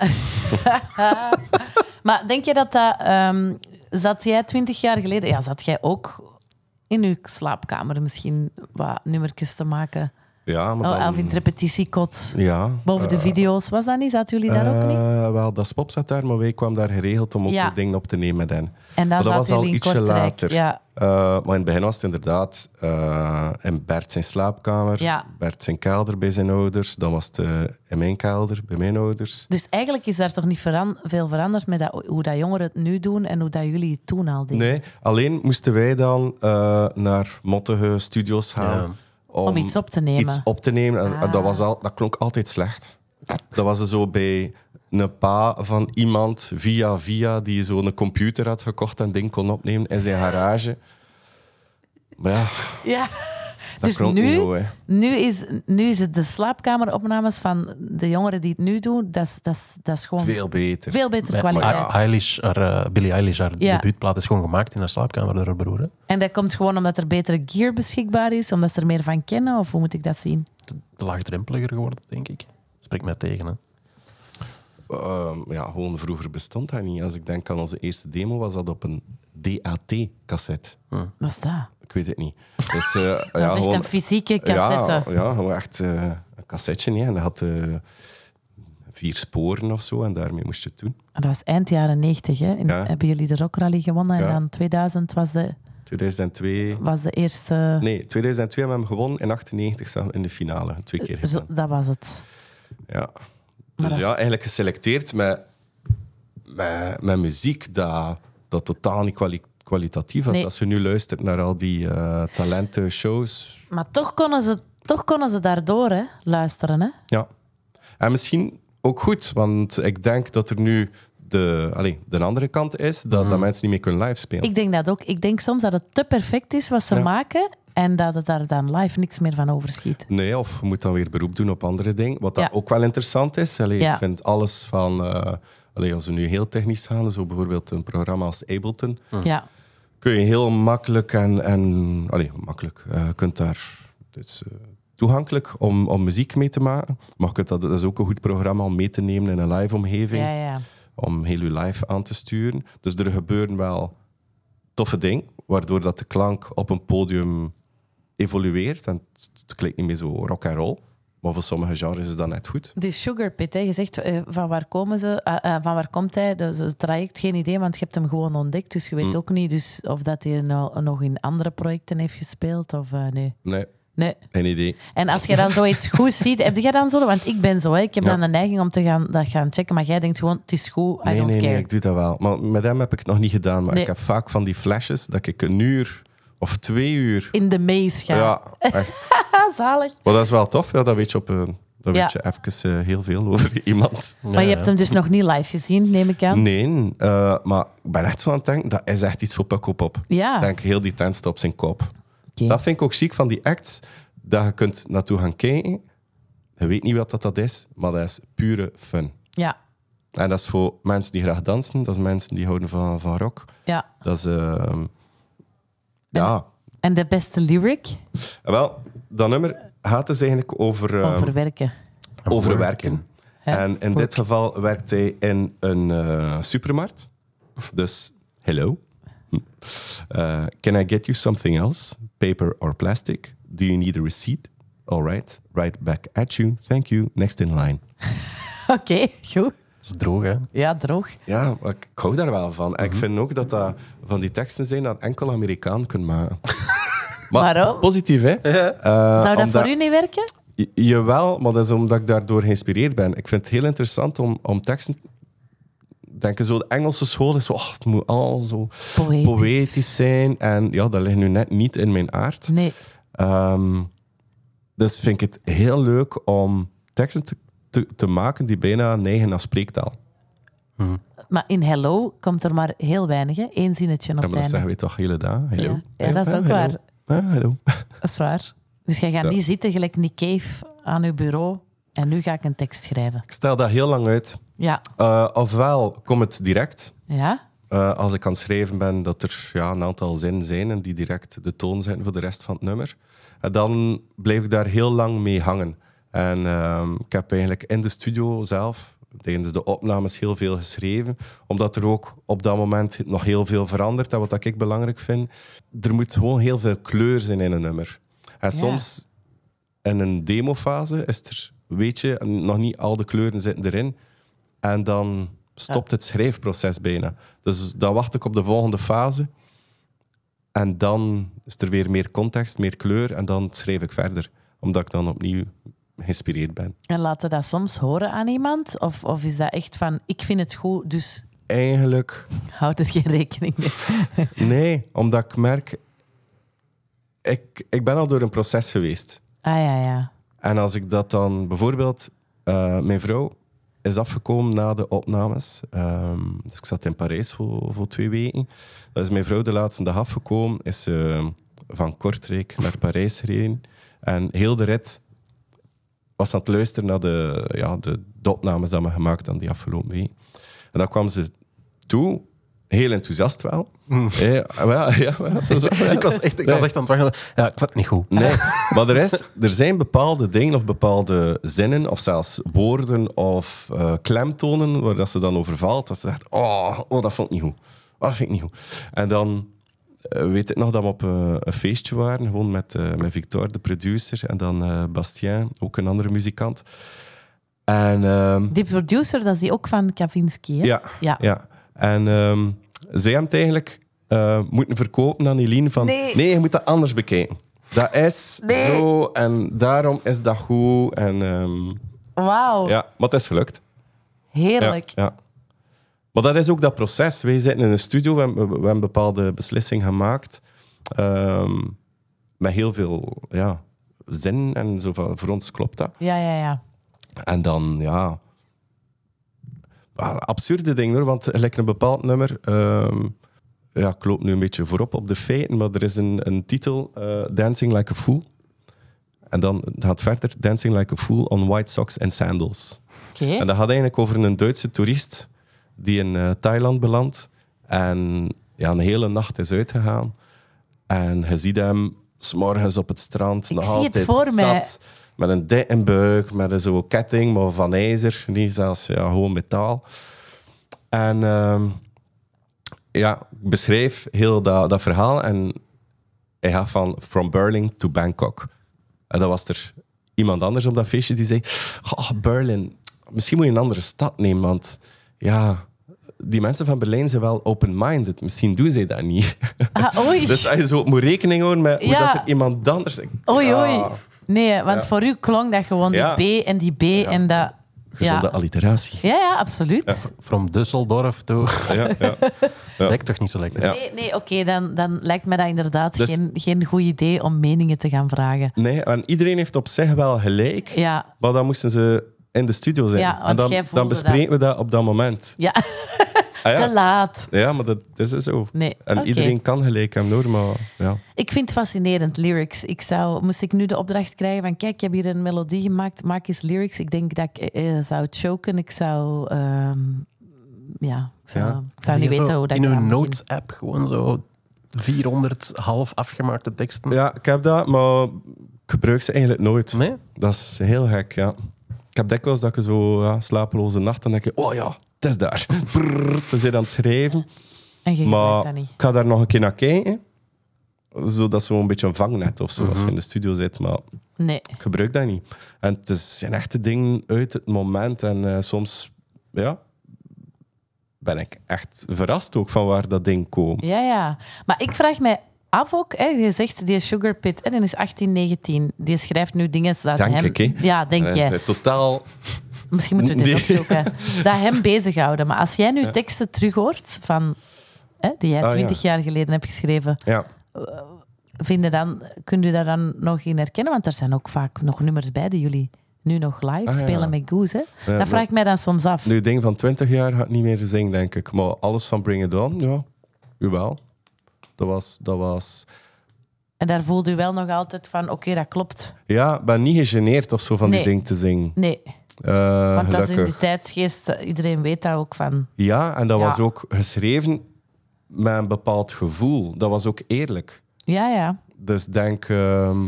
[SPEAKER 1] maar denk je dat dat... ehm, zat jij twintig jaar geleden... Ja, zat jij ook in uw slaapkamer misschien wat nummertjes te maken?
[SPEAKER 2] Ja, maar
[SPEAKER 1] Oh,
[SPEAKER 2] dan...
[SPEAKER 1] of in het repetitiekot?
[SPEAKER 2] Ja.
[SPEAKER 1] Boven de video's, was dat niet? Zaten jullie daar ook niet?
[SPEAKER 2] Eh, wel, dat Spop zat daar, maar wij kwamen daar geregeld om ook
[SPEAKER 1] Ja.
[SPEAKER 2] weer dingen op te nemen met hen.
[SPEAKER 1] En
[SPEAKER 2] Maar
[SPEAKER 1] daar
[SPEAKER 2] dat was
[SPEAKER 1] zaten
[SPEAKER 2] al
[SPEAKER 1] jullie in
[SPEAKER 2] ietsje
[SPEAKER 1] Kortrijk.
[SPEAKER 2] later.
[SPEAKER 1] Ja.
[SPEAKER 2] Eh, maar in het begin was het inderdaad eh, in Bert zijn slaapkamer,
[SPEAKER 1] Ja.
[SPEAKER 2] Bert zijn kelder bij zijn ouders, dan was het eh, in mijn kelder bij mijn ouders.
[SPEAKER 1] Dus eigenlijk is daar toch niet veran- veel veranderd met dat, hoe dat jongeren het nu doen en hoe dat jullie het toen al deden.
[SPEAKER 2] Nee, alleen moesten wij dan eh, naar mottige studios gaan
[SPEAKER 3] Ja.
[SPEAKER 2] om,
[SPEAKER 1] Om iets op te nemen. Ah.
[SPEAKER 2] iets op te nemen. En, en dat, was al, dat klonk altijd slecht. Dat was er zo bij een pa van iemand via via die zo'n computer had gekocht en ding kon opnemen in zijn garage. Maar ja,
[SPEAKER 1] Ja. dus
[SPEAKER 2] klonk niet
[SPEAKER 1] nu,
[SPEAKER 2] goed, hè.
[SPEAKER 1] nu, is, nu is het de slaapkameropnames van de jongeren die het nu doen, dat is, dat is, dat is gewoon veel,
[SPEAKER 2] veel beter.
[SPEAKER 1] betere
[SPEAKER 3] Bij-
[SPEAKER 1] kwaliteit.
[SPEAKER 3] Ah, Eilish, haar, eh, Billie Eilish, haar
[SPEAKER 1] Ja.
[SPEAKER 3] debuutplaat is gewoon gemaakt in haar slaapkamer door haar broer. hè.
[SPEAKER 1] En dat komt gewoon omdat er betere gear beschikbaar is, omdat ze er meer van kennen, of hoe moet ik dat zien?
[SPEAKER 3] Te, te laagdrempeliger geworden, denk ik. Spreek mij tegen, hè.
[SPEAKER 2] Ehm, ja, gewoon vroeger bestond dat niet. Als ik denk aan onze eerste demo, was dat op een DAT-cassette.
[SPEAKER 1] Wat is dat?
[SPEAKER 2] Ik weet het niet. Dus, eh, ja,
[SPEAKER 1] Dat is echt
[SPEAKER 2] gewoon-
[SPEAKER 1] een fysieke cassette.
[SPEAKER 2] Ja, ja gewoon echt eh, een cassetje. hè. En dat had eh, vier sporen of zo. En daarmee moest je het doen.
[SPEAKER 1] Maar Ah, Dat was eind jaren 90, hè? In-
[SPEAKER 2] Ja.
[SPEAKER 1] Hebben jullie de Rock Rally gewonnen? En
[SPEAKER 2] Ja.
[SPEAKER 1] dan 2000 was de,
[SPEAKER 2] 2002...
[SPEAKER 1] was de eerste...
[SPEAKER 2] Nee, 2002 hebben we hem gewonnen. In 98 staan we in de finale. Twee keer
[SPEAKER 1] Zo,
[SPEAKER 2] gedaan.
[SPEAKER 1] dat was het. Maar
[SPEAKER 2] Ja. Dus
[SPEAKER 1] dat is-
[SPEAKER 2] ja, eigenlijk geselecteerd met, met, met muziek dat, dat totaal niet kwali- kwalitatief was.
[SPEAKER 1] Nee.
[SPEAKER 2] Als je nu luistert naar al die eh talenten, shows...
[SPEAKER 1] Maar toch konden ze, toch konden ze daardoor hè, luisteren. Hè?
[SPEAKER 2] Ja. En misschien ook goed, want ik denk dat er nu de, allee, de andere kant is dat, dat mensen niet meer kunnen live spelen.
[SPEAKER 1] Mm. Ik denk dat ook. Ik denk soms dat het te perfect is wat ze
[SPEAKER 2] Ja.
[SPEAKER 1] maken en dat het daar dan live niks meer van overschiet.
[SPEAKER 2] Nee, of je moet dan weer beroep doen op andere dingen. Wat dat
[SPEAKER 1] Ja.
[SPEAKER 2] ook wel interessant is. Allee,
[SPEAKER 1] Ja.
[SPEAKER 2] Ik vind alles van... eh, allee, als we nu heel technisch gaan, zo bijvoorbeeld een programma als Ableton,
[SPEAKER 1] Ja.
[SPEAKER 2] kun je heel makkelijk en... en allee, makkelijk. eh, Je kunt daar... Het is eh, toegankelijk om, om muziek mee te maken. Maar je kunt dat, dat is ook een goed programma om mee te nemen in een live omgeving.
[SPEAKER 1] Ja, ja.
[SPEAKER 2] om heel je live aan te sturen. Dus er gebeuren wel toffe dingen, waardoor dat de klank op een podium evolueert. En het- het klinkt niet meer zo rock en roll. Maar voor sommige genres is dat net goed.
[SPEAKER 1] Die Sugar Pit, hè, je zegt eh, van waar, komen ze, eh, eh, van waar komt hij? Dus het traject, geen idee, want je hebt hem gewoon ontdekt. Dus je weet
[SPEAKER 2] Mm.
[SPEAKER 1] ook niet dus of dat hij nou, nog in andere projecten heeft gespeeld of eh, nee.
[SPEAKER 2] Nee,
[SPEAKER 1] Nee.
[SPEAKER 2] geen idee.
[SPEAKER 1] En als je dan zoiets goed ziet, heb jij dan zo? Want ik ben zo, hè. ik heb
[SPEAKER 2] Ja.
[SPEAKER 1] dan de neiging om te gaan, dat gaan checken, maar jij denkt gewoon, het is goed, I
[SPEAKER 2] Nee,
[SPEAKER 1] don't
[SPEAKER 2] nee,
[SPEAKER 1] care.
[SPEAKER 2] nee, ik doe dat wel. Maar met hem heb ik het nog niet gedaan. Maar
[SPEAKER 1] Nee.
[SPEAKER 2] ik heb vaak van die flashes dat ik een uur of twee uur...
[SPEAKER 1] In de maze gaan.
[SPEAKER 2] Ja, echt.
[SPEAKER 1] Ah, zalig.
[SPEAKER 2] Maar dat is wel tof. Ja, dat weet je op een... Dat
[SPEAKER 1] Ja.
[SPEAKER 2] weet je even eh, heel veel over iemand.
[SPEAKER 1] Maar je hebt hem dus nog niet live gezien, neem ik aan.
[SPEAKER 2] Nee, eh, maar ik ben echt van aan het denken, dat is echt iets voor Pukkelpop.
[SPEAKER 1] Ja.
[SPEAKER 2] denk heel die tent staat op zijn kop.
[SPEAKER 1] Ah. Oké.
[SPEAKER 2] Dat vind ik ook ziek van die acts, dat je kunt naartoe gaan kijken. Je weet niet wat dat, dat is, maar dat is pure fun.
[SPEAKER 1] Ja,
[SPEAKER 2] En dat is voor mensen die graag dansen, dat is mensen die houden van, van rock.
[SPEAKER 1] ja.
[SPEAKER 2] Dat is... ehm, ja,
[SPEAKER 1] En de beste lyric?
[SPEAKER 2] En wel, dat nummer gaat dus eigenlijk over, ehm,
[SPEAKER 1] Over werken.
[SPEAKER 2] over werken.
[SPEAKER 1] Ja,
[SPEAKER 2] En in dit geval werkt hij in een eh, supermarkt. Dus, hello. Hm. Eh, can I get you something else? Paper or plastic? Do you need a receipt? All right. Right back at you. Thank you. Next in line.
[SPEAKER 1] Oké, goed.
[SPEAKER 3] Dat is droog, hè?
[SPEAKER 1] Ja, droog.
[SPEAKER 2] Ja, maar ik hou daar wel van. En ik vind ook dat dat van die teksten zijn dat enkel Amerikaan kunnen maken. Maar
[SPEAKER 1] Waarom?
[SPEAKER 2] positief, hè? Eh,
[SPEAKER 1] Zou dat
[SPEAKER 2] omdat-
[SPEAKER 1] voor u niet werken?
[SPEAKER 2] J- Jawel, maar dat is omdat ik daardoor geïnspireerd ben. Ik vind het heel interessant om, om teksten... Denken zo, de Engelse school is zo... "Ah, het moet al zo
[SPEAKER 1] Poëtisch.
[SPEAKER 2] poëtisch zijn. En ja, dat ligt nu net niet in mijn aard.
[SPEAKER 1] Nee.
[SPEAKER 2] Ehm, dus vind ik het heel leuk om teksten te, te, te maken die bijna neigen naar spreektaal.
[SPEAKER 1] Maar in Hello komt er maar heel weinig, hè? Eén zinnetje op
[SPEAKER 2] Ja,
[SPEAKER 1] het
[SPEAKER 2] maar
[SPEAKER 1] einde.
[SPEAKER 2] dat zeggen we toch hele dag. Hallo.
[SPEAKER 1] Ja. Ja, dat is
[SPEAKER 2] Ah,
[SPEAKER 1] ook
[SPEAKER 2] hallo.
[SPEAKER 1] waar.
[SPEAKER 2] Ah, hallo.
[SPEAKER 1] Dat is waar. Dus jij gaat
[SPEAKER 2] Ja.
[SPEAKER 1] niet zitten gelijk Nick Cave aan uw bureau en nu ga ik een tekst schrijven.
[SPEAKER 2] Ik stel dat heel lang uit.
[SPEAKER 1] Ja.
[SPEAKER 2] Eh, ofwel komt het direct,
[SPEAKER 1] Ja?
[SPEAKER 2] Eh, als ik aan het schrijven ben, dat er ja, een aantal zinnen zijn en die direct de toon zijn voor de rest van het nummer. En dan blijf ik daar heel lang mee hangen. En ehm, ik heb eigenlijk in de studio zelf, tijdens de opnames, heel veel geschreven. Omdat er ook op dat moment nog heel veel verandert. En wat dat ik belangrijk vind, er moet gewoon heel veel kleur zijn in een nummer. En soms in een demofase is er, weet je, nog niet al de kleuren zitten erin. En dan stopt het schrijfproces bijna. Dus dan wacht ik op de volgende fase. En dan is er weer meer context, meer kleur. En dan schrijf ik verder. Omdat ik dan opnieuw geïnspireerd ben.
[SPEAKER 1] En laten dat soms horen aan iemand? Of, of is dat echt van, ik vind het goed, dus
[SPEAKER 2] Eigenlijk
[SPEAKER 1] houd er geen rekening mee?
[SPEAKER 2] nee, omdat ik merk... Ik, ik ben al door een proces geweest.
[SPEAKER 1] Ah ja, ja.
[SPEAKER 2] En als ik dat dan bijvoorbeeld, eh, mijn vrouw is afgekomen na de opnames. Ehm, dus ik zat in Parijs voor, voor twee weken. Dan is mijn vrouw de laatste dag afgekomen, is ze van Kortrijk naar Parijs gereden. En heel de rit was aan het luisteren naar de, ja, de, de opnames die we gemaakt aan die afgelopen week. En dan kwam ze toe, heel enthousiast wel. Ja, wel, ja, wel, zo, zo,
[SPEAKER 3] Ik was echt, ik was echt aan het wachten. Ja, ik vond het niet goed.
[SPEAKER 2] Nee, maar er, is, er zijn bepaalde dingen of bepaalde zinnen of zelfs woorden of eh, klemtonen waar dat ze dan over valt. Dat ze zegt, oh, oh dat vond ik niet goed. Oh, dat vind ik niet goed. En dan eh, weet ik nog dat we op eh, een feestje waren, gewoon met, eh met Victor, de producer, en dan eh, Bastien, ook een andere muzikant. En ehm,
[SPEAKER 1] Die producer, dat is die ook van Kavinsky, hè?
[SPEAKER 2] ja.
[SPEAKER 1] Ja.
[SPEAKER 2] Ja. En ehm, zij hebben het eigenlijk eh, moeten verkopen aan Eline van... Nee. je moet dat anders bekijken. Dat is zo en daarom is dat goed. En, ehm,
[SPEAKER 1] Wauw,
[SPEAKER 2] ja, maar het is gelukt. Ja,
[SPEAKER 1] heerlijk.
[SPEAKER 2] ja. Maar dat is ook dat proces. Wij zitten in een studio, we hebben, we hebben bepaalde beslissingen gemaakt. ehm, met heel veel ja, zin en zo van, voor ons klopt dat.
[SPEAKER 1] Ja, ja, ja.
[SPEAKER 2] En dan, ja... ah, Absurde ding hoor, want gelijk een bepaald nummer... ehm, ja, ik loop nu een beetje voorop op de feiten, maar er is een, een titel, eh, Dancing Like a Fool. En dan het gaat verder, Dancing Like a Fool on White Socks and Sandals.
[SPEAKER 1] Oké.
[SPEAKER 2] En dat gaat eigenlijk over een Duitse toerist die in eh, Thailand belandt. En ja, een hele nacht is uitgegaan. En je ziet hem s'morgens op het strand. nog
[SPEAKER 1] zie het
[SPEAKER 2] altijd
[SPEAKER 1] voor
[SPEAKER 2] zat,
[SPEAKER 1] mij.
[SPEAKER 2] Met een dikke buik, met een zo'n ketting, maar van ijzer. Niet zelfs, ja, gewoon metaal. En ehm, ja, ik beschreef heel dat, dat verhaal. En hij gaat van From Berlin to Bangkok. En dan was er iemand anders op dat feestje die zei... Oh, Berlin, misschien moet je een andere stad nemen, want... Ja, die mensen van Berlijn zijn wel open-minded. Misschien doen zij dat niet.
[SPEAKER 1] Ah, oei.
[SPEAKER 2] Dus als je zo moet rekening houden met hoe
[SPEAKER 1] Ja.
[SPEAKER 2] dat er iemand anders...
[SPEAKER 1] Oei,
[SPEAKER 2] Ja,
[SPEAKER 1] oei. Nee, want voor u klonk dat gewoon
[SPEAKER 2] Ja.
[SPEAKER 1] die B en die B en dat...
[SPEAKER 2] Gezonde
[SPEAKER 1] Ja.
[SPEAKER 2] alliteratie.
[SPEAKER 1] Ja, ja, absoluut.
[SPEAKER 3] From Düsseldorf toe.
[SPEAKER 2] Ja, ja.
[SPEAKER 3] Dat Lijkt toch niet zo lekker.
[SPEAKER 2] Ja.
[SPEAKER 1] Nee, nee oké, dan, dan lijkt me dat inderdaad
[SPEAKER 2] Dus-
[SPEAKER 1] geen, geen goed idee om meningen te gaan vragen.
[SPEAKER 2] Nee, en iedereen heeft op zich wel gelijk.
[SPEAKER 1] Ja,
[SPEAKER 2] Maar dan moesten ze in de studio zijn.
[SPEAKER 1] Ja, want
[SPEAKER 2] en dan,
[SPEAKER 1] jij voelde
[SPEAKER 2] dan bespreken we dat op dat moment.
[SPEAKER 1] ja
[SPEAKER 2] Ah,
[SPEAKER 1] te
[SPEAKER 2] ja.
[SPEAKER 1] laat.
[SPEAKER 2] ja, maar dat, dat is zo.
[SPEAKER 1] Nee,
[SPEAKER 2] En
[SPEAKER 1] oké.
[SPEAKER 2] iedereen kan gelijk hebben, hoor. Maar ja.
[SPEAKER 1] Ik vind het fascinerend, lyrics. Ik zou, moest ik nu de opdracht krijgen van... Kijk, ik heb hier een melodie gemaakt, maak eens lyrics. Ik denk dat ik eh, eh, zou choken. Ik zou... ehm, ja, ik zou,
[SPEAKER 2] Ja.
[SPEAKER 1] Ik zou niet
[SPEAKER 3] Die
[SPEAKER 1] weten
[SPEAKER 3] zo
[SPEAKER 1] hoe dat
[SPEAKER 3] In
[SPEAKER 1] ik
[SPEAKER 3] hun
[SPEAKER 1] eraan begin.
[SPEAKER 3] notes-app gewoon zo 400 half afgemaakte teksten.
[SPEAKER 2] Ja, ik heb dat, maar ik gebruik ze eigenlijk nooit.
[SPEAKER 3] Nee?
[SPEAKER 2] Dat is heel gek, ja. Ik heb dikwijls dat ik zo ja, slapeloze nachten denk ik, oh ja, het is daar. Brrr, we zijn aan het schrijven.
[SPEAKER 1] En je gebruikt
[SPEAKER 2] Maar
[SPEAKER 1] dat
[SPEAKER 2] ik
[SPEAKER 1] niet.
[SPEAKER 2] ga daar nog een keer naar kijken. Zodat zo een beetje een vangnet of zo, als
[SPEAKER 1] Mhm.
[SPEAKER 2] je in de studio zit. Maar
[SPEAKER 1] Nee.
[SPEAKER 2] ik gebruik dat niet. En het is een echte ding uit het moment. En eh, soms, ja, ben ik echt verrast ook van waar dat ding komt.
[SPEAKER 1] Ja, ja. Maar ik vraag mij af ook, hè, je zegt die Sugar Pit, hè, die is 18, 19. Die schrijft nu dingen dat
[SPEAKER 2] Denk
[SPEAKER 1] hem...
[SPEAKER 2] ik, hè?
[SPEAKER 1] Ja, denk
[SPEAKER 2] Eh, het
[SPEAKER 1] jij.
[SPEAKER 2] is Totaal
[SPEAKER 1] Misschien moeten we dit
[SPEAKER 2] Nee.
[SPEAKER 1] opzoeken. Dat hem bezighouden. Maar als jij nu teksten terughoort van... Hè, die jij
[SPEAKER 2] Ah, ja.
[SPEAKER 1] 20 jaar geleden hebt geschreven,
[SPEAKER 2] Ja,
[SPEAKER 1] vinden dan, kun je daar dan nog in herkennen? Want er zijn ook vaak nog nummers bij die jullie nu nog live
[SPEAKER 2] Ah, ja.
[SPEAKER 1] spelen met Goose. Hè?
[SPEAKER 2] Ja,
[SPEAKER 1] dat vraag
[SPEAKER 2] maar-
[SPEAKER 1] ik mij dan soms af.
[SPEAKER 2] nu ding van 20 jaar ga ik niet meer zingen, denk ik. Maar alles van Bring It On, ja, jawel. Dat was, dat was...
[SPEAKER 1] En daar voelde u wel nog altijd van, oké, dat klopt.
[SPEAKER 2] Ja, ik ben niet gegeneerd of zo van
[SPEAKER 1] Nee.
[SPEAKER 2] die ding te zingen.
[SPEAKER 1] Nee,
[SPEAKER 2] Eh,
[SPEAKER 1] want dat is in
[SPEAKER 2] gelukkig.
[SPEAKER 1] die tijdsgeest, eh, iedereen weet daar ook van.
[SPEAKER 2] Ja, en dat
[SPEAKER 1] Ja.
[SPEAKER 2] was ook geschreven met een bepaald gevoel. Dat was ook eerlijk.
[SPEAKER 1] Ja, ja.
[SPEAKER 2] Dus denk ehm,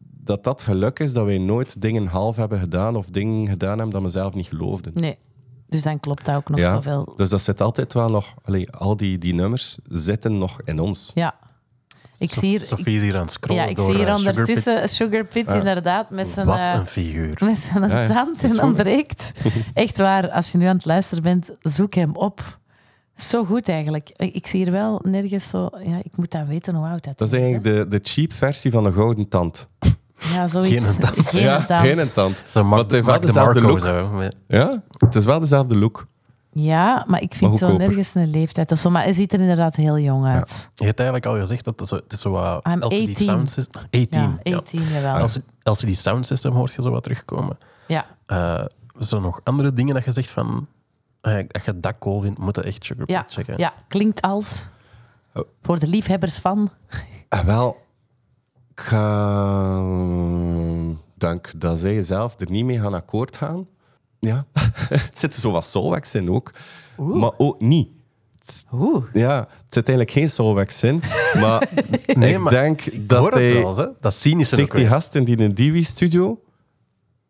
[SPEAKER 2] dat dat geluk is dat wij nooit dingen half hebben gedaan of dingen gedaan hebben dat we zelf niet geloofden.
[SPEAKER 1] Nee. Dus dan klopt dat ook nog zoveel.
[SPEAKER 2] Dus dat zit altijd wel nog... Allee, al die, die nummers zitten nog in ons.
[SPEAKER 1] Ja. Ik zie hier, ik,
[SPEAKER 3] Sophie is hier aan het
[SPEAKER 1] ja,
[SPEAKER 3] scrollen
[SPEAKER 1] ik
[SPEAKER 3] door
[SPEAKER 1] zie hier
[SPEAKER 3] eh, Sugar
[SPEAKER 1] ondertussen
[SPEAKER 3] Pit.
[SPEAKER 1] Sugar Pit, inderdaad, met zijn,
[SPEAKER 3] Wat
[SPEAKER 1] eh,
[SPEAKER 3] een figuur.
[SPEAKER 1] met zijn
[SPEAKER 2] Ah. Ja, ja,
[SPEAKER 1] tand
[SPEAKER 2] dat is
[SPEAKER 1] en
[SPEAKER 2] waar.
[SPEAKER 1] ontbreekt. Echt waar, als je nu aan het luisteren bent, zoek hem op. Zo goed eigenlijk. Ik ik zie hier wel nergens zo... Ja, ik moet dan weten hoe oud dat,
[SPEAKER 2] Dat is eigenlijk de, de cheap versie van een gouden tand.
[SPEAKER 1] hè. Ja, zoiets.
[SPEAKER 3] Geen tand.
[SPEAKER 1] Geen
[SPEAKER 2] ja,
[SPEAKER 1] tand.
[SPEAKER 2] geen een tand.
[SPEAKER 3] Zo
[SPEAKER 2] Maar
[SPEAKER 3] Mark,
[SPEAKER 2] het heeft wel
[SPEAKER 3] Mark de
[SPEAKER 2] dezelfde
[SPEAKER 3] Marco.
[SPEAKER 2] look.
[SPEAKER 3] Zo. hè.
[SPEAKER 2] Ja, het is wel dezelfde look.
[SPEAKER 1] Ja, maar ik vind
[SPEAKER 2] Maar
[SPEAKER 1] zo
[SPEAKER 2] goedkoper.
[SPEAKER 1] nergens een leeftijd of zo. Maar hij ziet er inderdaad heel jong uit.
[SPEAKER 3] Je hebt eigenlijk al gezegd dat het zo, het is zo wat...
[SPEAKER 1] I'm 18.
[SPEAKER 3] Sound System... 18.
[SPEAKER 1] Ja,
[SPEAKER 3] ja.
[SPEAKER 1] 18, jawel.
[SPEAKER 3] Als, als je die sound system hoort, je zo wat terugkomen.
[SPEAKER 1] Ja.
[SPEAKER 3] Eh zo nog andere dingen dat je zegt van... eh, dat je dat cool vindt, moet je echt Sugar Pit
[SPEAKER 1] Ja,
[SPEAKER 3] checken.
[SPEAKER 1] ja, klinkt als.
[SPEAKER 2] Oh.
[SPEAKER 1] Voor de liefhebbers van.
[SPEAKER 2] Ah, wel, ik ga, denk dat zij zelf er niet mee gaan akkoord gaan. Ja, het zitten zo wat soulwax in ook, maar ook niet.
[SPEAKER 1] Oeh.
[SPEAKER 2] Ja, het zit eigenlijk geen soulwax in, maar
[SPEAKER 3] Nee,
[SPEAKER 2] ik
[SPEAKER 3] maar
[SPEAKER 2] denk
[SPEAKER 3] Dat
[SPEAKER 2] dat
[SPEAKER 3] hoor het
[SPEAKER 2] hij
[SPEAKER 3] wel eens, hè. Dat cynische
[SPEAKER 2] steekt die
[SPEAKER 3] ook weer.
[SPEAKER 2] gasten die in een Divi-studio,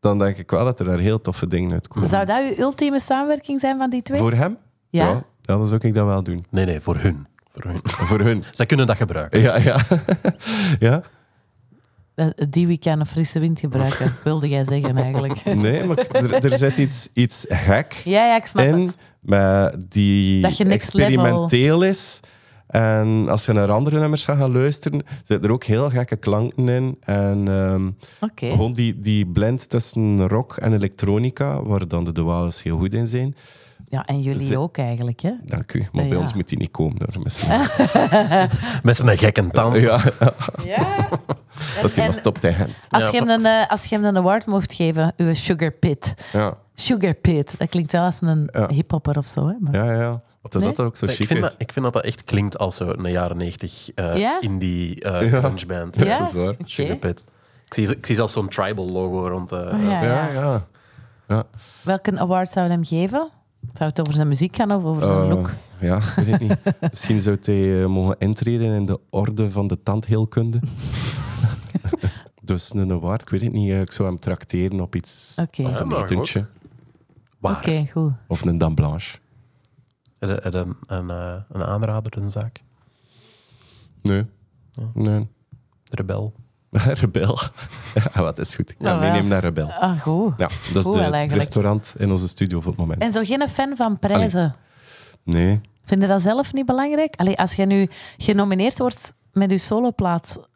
[SPEAKER 2] dan denk ik wel dat er daar heel toffe dingen uitkomen.
[SPEAKER 1] Zou dat uw ultieme samenwerking zijn van die twee?
[SPEAKER 2] Voor hem?
[SPEAKER 1] Ja.
[SPEAKER 2] ja, dan zou ik dat wel doen.
[SPEAKER 3] Nee, nee, voor hun. Voor hun.
[SPEAKER 2] Voor hun.
[SPEAKER 3] Zij kunnen dat gebruiken.
[SPEAKER 2] Ja, ja. ja.
[SPEAKER 1] Dat- Eh, Die week aan een frisse wind gebruiken, wilde jij zeggen eigenlijk.
[SPEAKER 2] Nee, maar ik- er, er zit iets, iets gek
[SPEAKER 1] Ja, ja, ik snap
[SPEAKER 2] in,
[SPEAKER 1] het.
[SPEAKER 2] maar die
[SPEAKER 1] Dat je next
[SPEAKER 2] experimenteel is. En als je naar andere nummers gaat gaan luisteren, zitten er ook heel gekke klanken in. En ehm,
[SPEAKER 1] Oké.
[SPEAKER 2] gewoon die, die blend tussen rock en elektronica, waar dan de Duales heel goed in zijn.
[SPEAKER 1] Ja, en jullie
[SPEAKER 2] Ze-
[SPEAKER 1] ook eigenlijk, hè?
[SPEAKER 2] Dank u.
[SPEAKER 1] Ah, Ja,
[SPEAKER 2] Maar
[SPEAKER 1] Ah.
[SPEAKER 2] bij
[SPEAKER 1] ja.
[SPEAKER 2] ons moet die niet komen, hoor. Misschien.
[SPEAKER 3] Met zijn gekke tand.
[SPEAKER 2] Ja,
[SPEAKER 1] Ja.
[SPEAKER 2] dat die maar stopt in Gent.
[SPEAKER 1] Als je, hem een, eh, als je hem een award mocht geven, uw Sugar Pit.
[SPEAKER 2] Ja,
[SPEAKER 1] Sugar Pit, dat klinkt wel als een
[SPEAKER 2] Ja.
[SPEAKER 1] hiphopper of zo. Hè? Maar-
[SPEAKER 2] ja, ja. ja. Wat is
[SPEAKER 1] Nee?
[SPEAKER 2] dat dat ook zo
[SPEAKER 3] Ik
[SPEAKER 2] chic
[SPEAKER 3] vind,
[SPEAKER 2] is?
[SPEAKER 3] dat, ik vind dat dat echt klinkt als zo een jaren negentig eh
[SPEAKER 1] Ja?
[SPEAKER 3] indie eh
[SPEAKER 2] Ja.
[SPEAKER 3] grunge band.
[SPEAKER 1] Ja?
[SPEAKER 2] dat is waar.
[SPEAKER 1] Oké.
[SPEAKER 3] Sugar Pit. Ik zie, ik zie zelfs zo'n tribal logo rond. eh
[SPEAKER 1] Oh, ja, ja.
[SPEAKER 2] Ja, ja.
[SPEAKER 1] Welke award zou je hem geven? Zou het over zijn muziek gaan of over zijn
[SPEAKER 2] Eh,
[SPEAKER 1] look?
[SPEAKER 2] Ja, ik weet het niet. Misschien zou hij eh, mogen intreden in de orde van de tandheelkunde. dus een award, ik weet het niet. eh, Ik zou hem tracteren op iets.
[SPEAKER 1] Oké,
[SPEAKER 3] Ja,
[SPEAKER 2] Een
[SPEAKER 3] maar
[SPEAKER 2] etentje.
[SPEAKER 3] Waar?
[SPEAKER 1] oké, goed.
[SPEAKER 2] Of een dame blanche.
[SPEAKER 3] Eh, eh, Een, een, eh, een aanrader, een zaak.
[SPEAKER 2] Nee. Nee.
[SPEAKER 3] De rebel.
[SPEAKER 2] Rebel. ja, wat is goed. Ik ga
[SPEAKER 1] Nou, wel.
[SPEAKER 2] meenemen naar Rebel.
[SPEAKER 1] Ah, goed.
[SPEAKER 2] Ja, dat is
[SPEAKER 1] Goed
[SPEAKER 2] de,
[SPEAKER 1] wel
[SPEAKER 2] het
[SPEAKER 1] eigenlijk. Eh.
[SPEAKER 2] restaurant in onze studio voor het moment.
[SPEAKER 1] En zo geen fan van prijzen.
[SPEAKER 2] Nee.
[SPEAKER 1] Vind je dat zelf niet belangrijk? Allee, als je nu genomineerd wordt met je soloplaat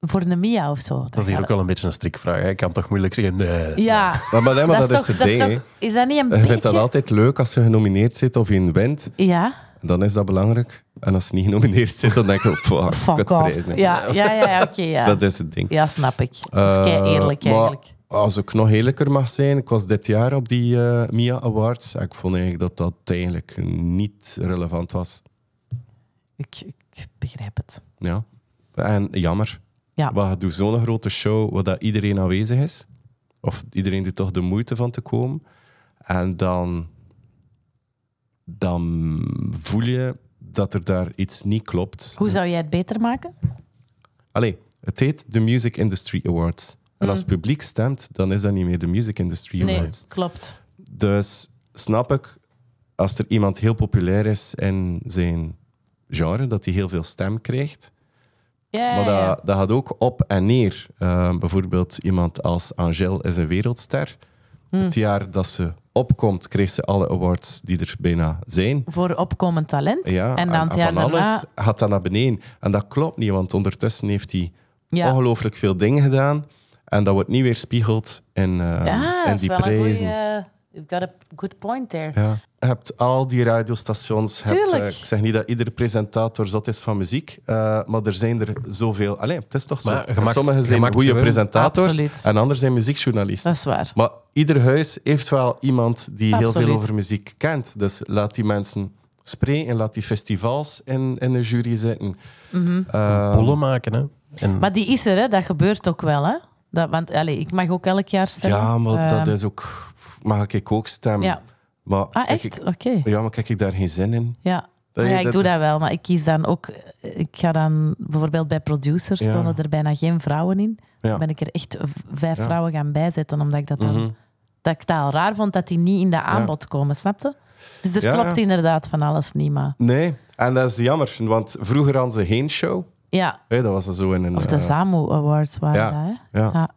[SPEAKER 1] voor een Mia of zo.
[SPEAKER 3] Dat is hier ook wel een beetje een strikvraag. hè. Ik kan toch moeilijk zeggen, nee.
[SPEAKER 1] Ja,
[SPEAKER 2] Maar, maar, nee, maar dat, is,
[SPEAKER 1] toch,
[SPEAKER 2] het ding.
[SPEAKER 1] is,
[SPEAKER 2] hè.
[SPEAKER 1] toch- is dat niet een
[SPEAKER 2] Je
[SPEAKER 1] beetje...
[SPEAKER 2] vindt dat altijd leuk als je genomineerd zit of je wint.
[SPEAKER 1] Ja,
[SPEAKER 2] Dan is dat belangrijk. En als je niet genomineerd zit, dan denk je... Fuck,
[SPEAKER 1] fuck off. Ja, ja, ja, ja, oké, ja.
[SPEAKER 2] Dat is het ding.
[SPEAKER 1] Ja, snap ik. Dat is
[SPEAKER 2] Eh,
[SPEAKER 1] kei eerlijk
[SPEAKER 2] maar
[SPEAKER 1] eigenlijk.
[SPEAKER 2] Als ik nog eerlijker mag zijn, ik was dit jaar op die eh, Mia Awards. En ik vond eigenlijk dat dat eigenlijk niet relevant was.
[SPEAKER 1] Ik, ik begrijp het.
[SPEAKER 2] Ja. En jammer.
[SPEAKER 1] Ja.
[SPEAKER 2] Maar je doet zo'n grote show waar dat iedereen aanwezig is. Of iedereen doet toch de moeite van te komen. En dan, dan voel je dat er daar iets niet klopt.
[SPEAKER 1] Hoe zou jij het beter maken?
[SPEAKER 2] Allee, het heet de Music Industry Awards. En als het publiek stemt, dan is dat niet meer de Music Industry
[SPEAKER 1] Mm. Nee,
[SPEAKER 2] Awards.
[SPEAKER 1] klopt.
[SPEAKER 2] Dus snap ik, als er iemand heel populair is in zijn genre, dat hij heel veel stem krijgt.
[SPEAKER 1] Ja,
[SPEAKER 2] Maar
[SPEAKER 1] ja, ja.
[SPEAKER 2] dat, dat gaat ook op en neer. Eh, bijvoorbeeld iemand als Angèle is een wereldster.
[SPEAKER 1] Mm.
[SPEAKER 2] Het jaar dat ze opkomt, kreeg ze alle awards die er bijna zijn.
[SPEAKER 1] Voor opkomend talent.
[SPEAKER 2] Ja,
[SPEAKER 1] en dan het jaar
[SPEAKER 2] van alles
[SPEAKER 1] daarna...
[SPEAKER 2] gaat dat naar beneden. En dat klopt niet, want ondertussen heeft hij
[SPEAKER 1] Ja.
[SPEAKER 2] ongelooflijk veel dingen gedaan. En dat wordt niet weerspiegeld in, eh,
[SPEAKER 1] Ja,
[SPEAKER 2] in
[SPEAKER 1] dat is
[SPEAKER 2] die
[SPEAKER 1] wel een
[SPEAKER 2] prijzen.
[SPEAKER 1] goeie... eh, You've got a good point there.
[SPEAKER 2] Ja. Je hebt al die radiostations. je Hebt,
[SPEAKER 1] Tuurlijk.
[SPEAKER 2] eh, ik zeg niet dat iedere presentator zot is van muziek, eh, maar er zijn er zoveel. Allee, het is toch zo.
[SPEAKER 3] Maar je maakt-
[SPEAKER 2] Sommigen
[SPEAKER 3] je
[SPEAKER 2] zijn
[SPEAKER 3] maakt
[SPEAKER 2] goede
[SPEAKER 3] gewoon-
[SPEAKER 2] presentators
[SPEAKER 1] Absoluut.
[SPEAKER 2] en anderen zijn muziekjournalisten.
[SPEAKER 1] Dat is waar.
[SPEAKER 2] Maar ieder huis heeft wel iemand die heel
[SPEAKER 1] Absoluut.
[SPEAKER 2] veel over muziek kent. Dus laat die mensen spreken, laat die festivals in, in de jury zitten.
[SPEAKER 1] Mhm.
[SPEAKER 2] Eh,
[SPEAKER 3] Pollen maken, hè. En
[SPEAKER 1] Maar die is er, hè? dat gebeurt ook wel. Hè? Dat, want allee, ik mag ook elk jaar stemmen.
[SPEAKER 2] ja, maar dat
[SPEAKER 1] Ehm,
[SPEAKER 2] is ook... Mag ik ook stemmen?
[SPEAKER 1] ja.
[SPEAKER 2] Maar
[SPEAKER 1] Ah,
[SPEAKER 2] kijk
[SPEAKER 1] echt?
[SPEAKER 2] ik-
[SPEAKER 1] Oké.
[SPEAKER 2] ja, maar kijk ik daar geen zin in?
[SPEAKER 1] Ja. Ah
[SPEAKER 2] Dat je-
[SPEAKER 1] ja, ik
[SPEAKER 2] dat-
[SPEAKER 1] doe dat wel, maar ik kies dan ook... Ik ga dan bijvoorbeeld bij producers,
[SPEAKER 2] Ja.
[SPEAKER 1] stonden er bijna geen vrouwen in.
[SPEAKER 2] Ja.
[SPEAKER 1] ben ik er echt v- vijf
[SPEAKER 2] Ja.
[SPEAKER 1] vrouwen gaan bijzetten, omdat ik dat dan...
[SPEAKER 2] Mhm.
[SPEAKER 1] Dat ik het al raar vond dat die niet in dat aanbod komen, snapte? Dus er
[SPEAKER 2] Ja,
[SPEAKER 1] klopt
[SPEAKER 2] ja.
[SPEAKER 1] inderdaad van alles niet, maar...
[SPEAKER 2] Nee, en dat is jammer, want vroeger hadden ze geen show.
[SPEAKER 1] Ja,
[SPEAKER 2] Hé, dat was er zo in een...
[SPEAKER 1] Of de
[SPEAKER 2] eh,
[SPEAKER 1] ZAMU Awards waren
[SPEAKER 2] ja,
[SPEAKER 1] dat, hè?
[SPEAKER 2] ja. Ja.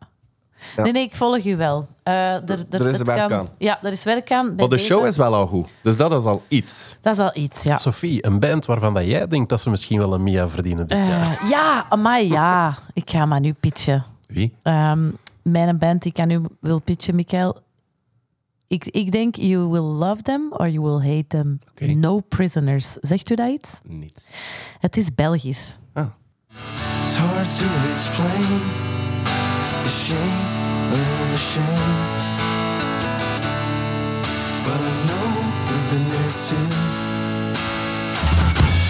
[SPEAKER 1] Nee, nee, ik volg u wel. Eh, er,
[SPEAKER 2] er is
[SPEAKER 1] het
[SPEAKER 2] werk
[SPEAKER 1] kan-
[SPEAKER 2] aan.
[SPEAKER 1] Ja, er is werk aan. bij
[SPEAKER 2] maar de
[SPEAKER 1] deze.
[SPEAKER 2] show is wel al goed, dus dat is al iets.
[SPEAKER 1] Dat is al iets, ja.
[SPEAKER 3] Sophie, een band waarvan dat jij denkt dat ze misschien wel een Mia verdienen dit jaar.
[SPEAKER 1] Eh, ja, maar ja. Ik ga maar nu pitchen.
[SPEAKER 2] Wie?
[SPEAKER 1] Ehm, mijn band, die ik aan u wil pitchen, Michael. Ik, ik denk, you will love them or you will hate them.
[SPEAKER 2] Oké.
[SPEAKER 1] No prisoners. Zegt u dat iets?
[SPEAKER 2] Niets.
[SPEAKER 1] Het is Belgisch.
[SPEAKER 2] Ah.
[SPEAKER 4] It's hard to explain the shape of the shame. But I know you've been there too.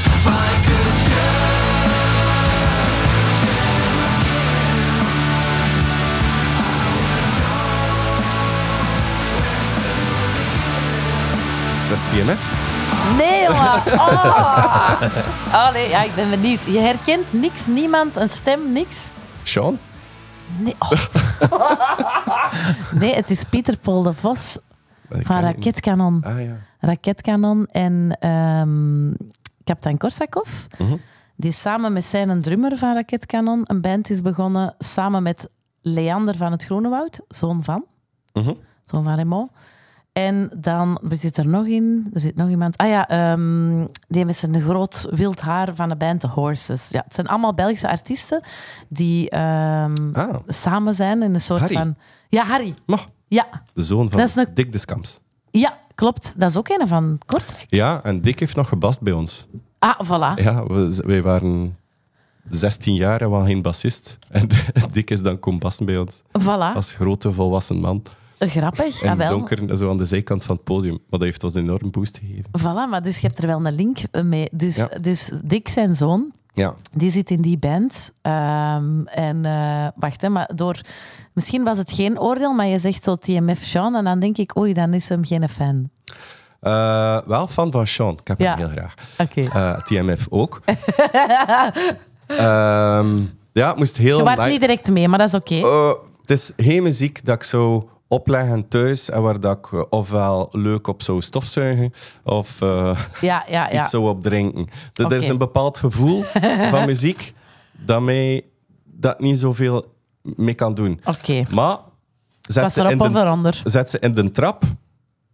[SPEAKER 4] If I could just shed my skin, I would know where to
[SPEAKER 2] Dat is TMF?
[SPEAKER 1] Nee, jongen. Oh. Allee, ja, ik ben benieuwd. Je herkent niks, niemand, een stem, niks.
[SPEAKER 2] Sean?
[SPEAKER 1] Nee, oh. nee het is Pieter Paul de Vos van
[SPEAKER 2] Ik ken het niet.
[SPEAKER 1] Raketkanon.
[SPEAKER 2] Ah ja.
[SPEAKER 1] Raketkanon en ehm Kapitein Korsakov.
[SPEAKER 2] Mhm.
[SPEAKER 1] Die samen met zijn een drummer van Raketkanon een band is begonnen. Samen met Leander van het Groenewoud, zoon van.
[SPEAKER 2] Mhm.
[SPEAKER 1] Zo'n van Raymond. En dan, er zit er nog in, er zit nog iemand. Ah ja, ehm, die met zijn groot wild haar van de band The Horses. Ja, het zijn allemaal Belgische artiesten die ehm,
[SPEAKER 2] Ah,
[SPEAKER 1] samen zijn in een soort
[SPEAKER 2] Harry.
[SPEAKER 1] van... Ja, Harry.
[SPEAKER 2] maar
[SPEAKER 1] Ja.
[SPEAKER 2] de zoon van
[SPEAKER 1] Dat is een-
[SPEAKER 2] Dick Discams.
[SPEAKER 1] ja, klopt. Dat is ook een van Kortrijk.
[SPEAKER 2] Ja, en Dick heeft nog gebast bij ons.
[SPEAKER 1] Ah, voilà.
[SPEAKER 2] Ja, we, z- wij waren 16 jaar en we hadden geen bassist. En Dick is dan komen bassen bij ons.
[SPEAKER 1] Voilà.
[SPEAKER 2] Als grote volwassen man.
[SPEAKER 1] Grappig. Ah,
[SPEAKER 2] En
[SPEAKER 1] Jawel.
[SPEAKER 2] donker, zo aan de zijkant van het podium. Maar dat heeft ons een enorm boost gegeven.
[SPEAKER 1] Voilà, maar dus je hebt er wel een link eh, mee. Dus,
[SPEAKER 2] Ja.
[SPEAKER 1] dus Dick, zijn zoon,
[SPEAKER 2] Ja.
[SPEAKER 1] Die zit in die band. Ehm, en eh, wacht, hè, maar door, misschien was het geen oordeel, maar je zegt zo TMF Sean. En dan denk ik, oei, dan is hem geen fan.
[SPEAKER 2] Eh, wel fan van Sean. Ik heb
[SPEAKER 1] Ja.
[SPEAKER 2] hem heel graag.
[SPEAKER 1] Oké.
[SPEAKER 2] Eh, TMF ook. Ehm, ja, het moest heel
[SPEAKER 1] je waart
[SPEAKER 2] lang-
[SPEAKER 1] niet direct mee, maar dat is oké.
[SPEAKER 2] Eh, het is geen muziek dat ik zou opleggen thuis en waar dat ik eh, ofwel leuk op zou stofzuigen of eh,
[SPEAKER 1] Ja, ja, ja.
[SPEAKER 2] iets zou opdrinken. Dat
[SPEAKER 1] Oké.
[SPEAKER 2] is een bepaald gevoel van muziek dat mij dat niet zoveel mee kan doen.
[SPEAKER 1] Oké.
[SPEAKER 2] Maar zet
[SPEAKER 1] Was
[SPEAKER 2] ze,
[SPEAKER 1] erop
[SPEAKER 2] in
[SPEAKER 1] of
[SPEAKER 2] de,
[SPEAKER 1] eronder?
[SPEAKER 2] zet ze in de trap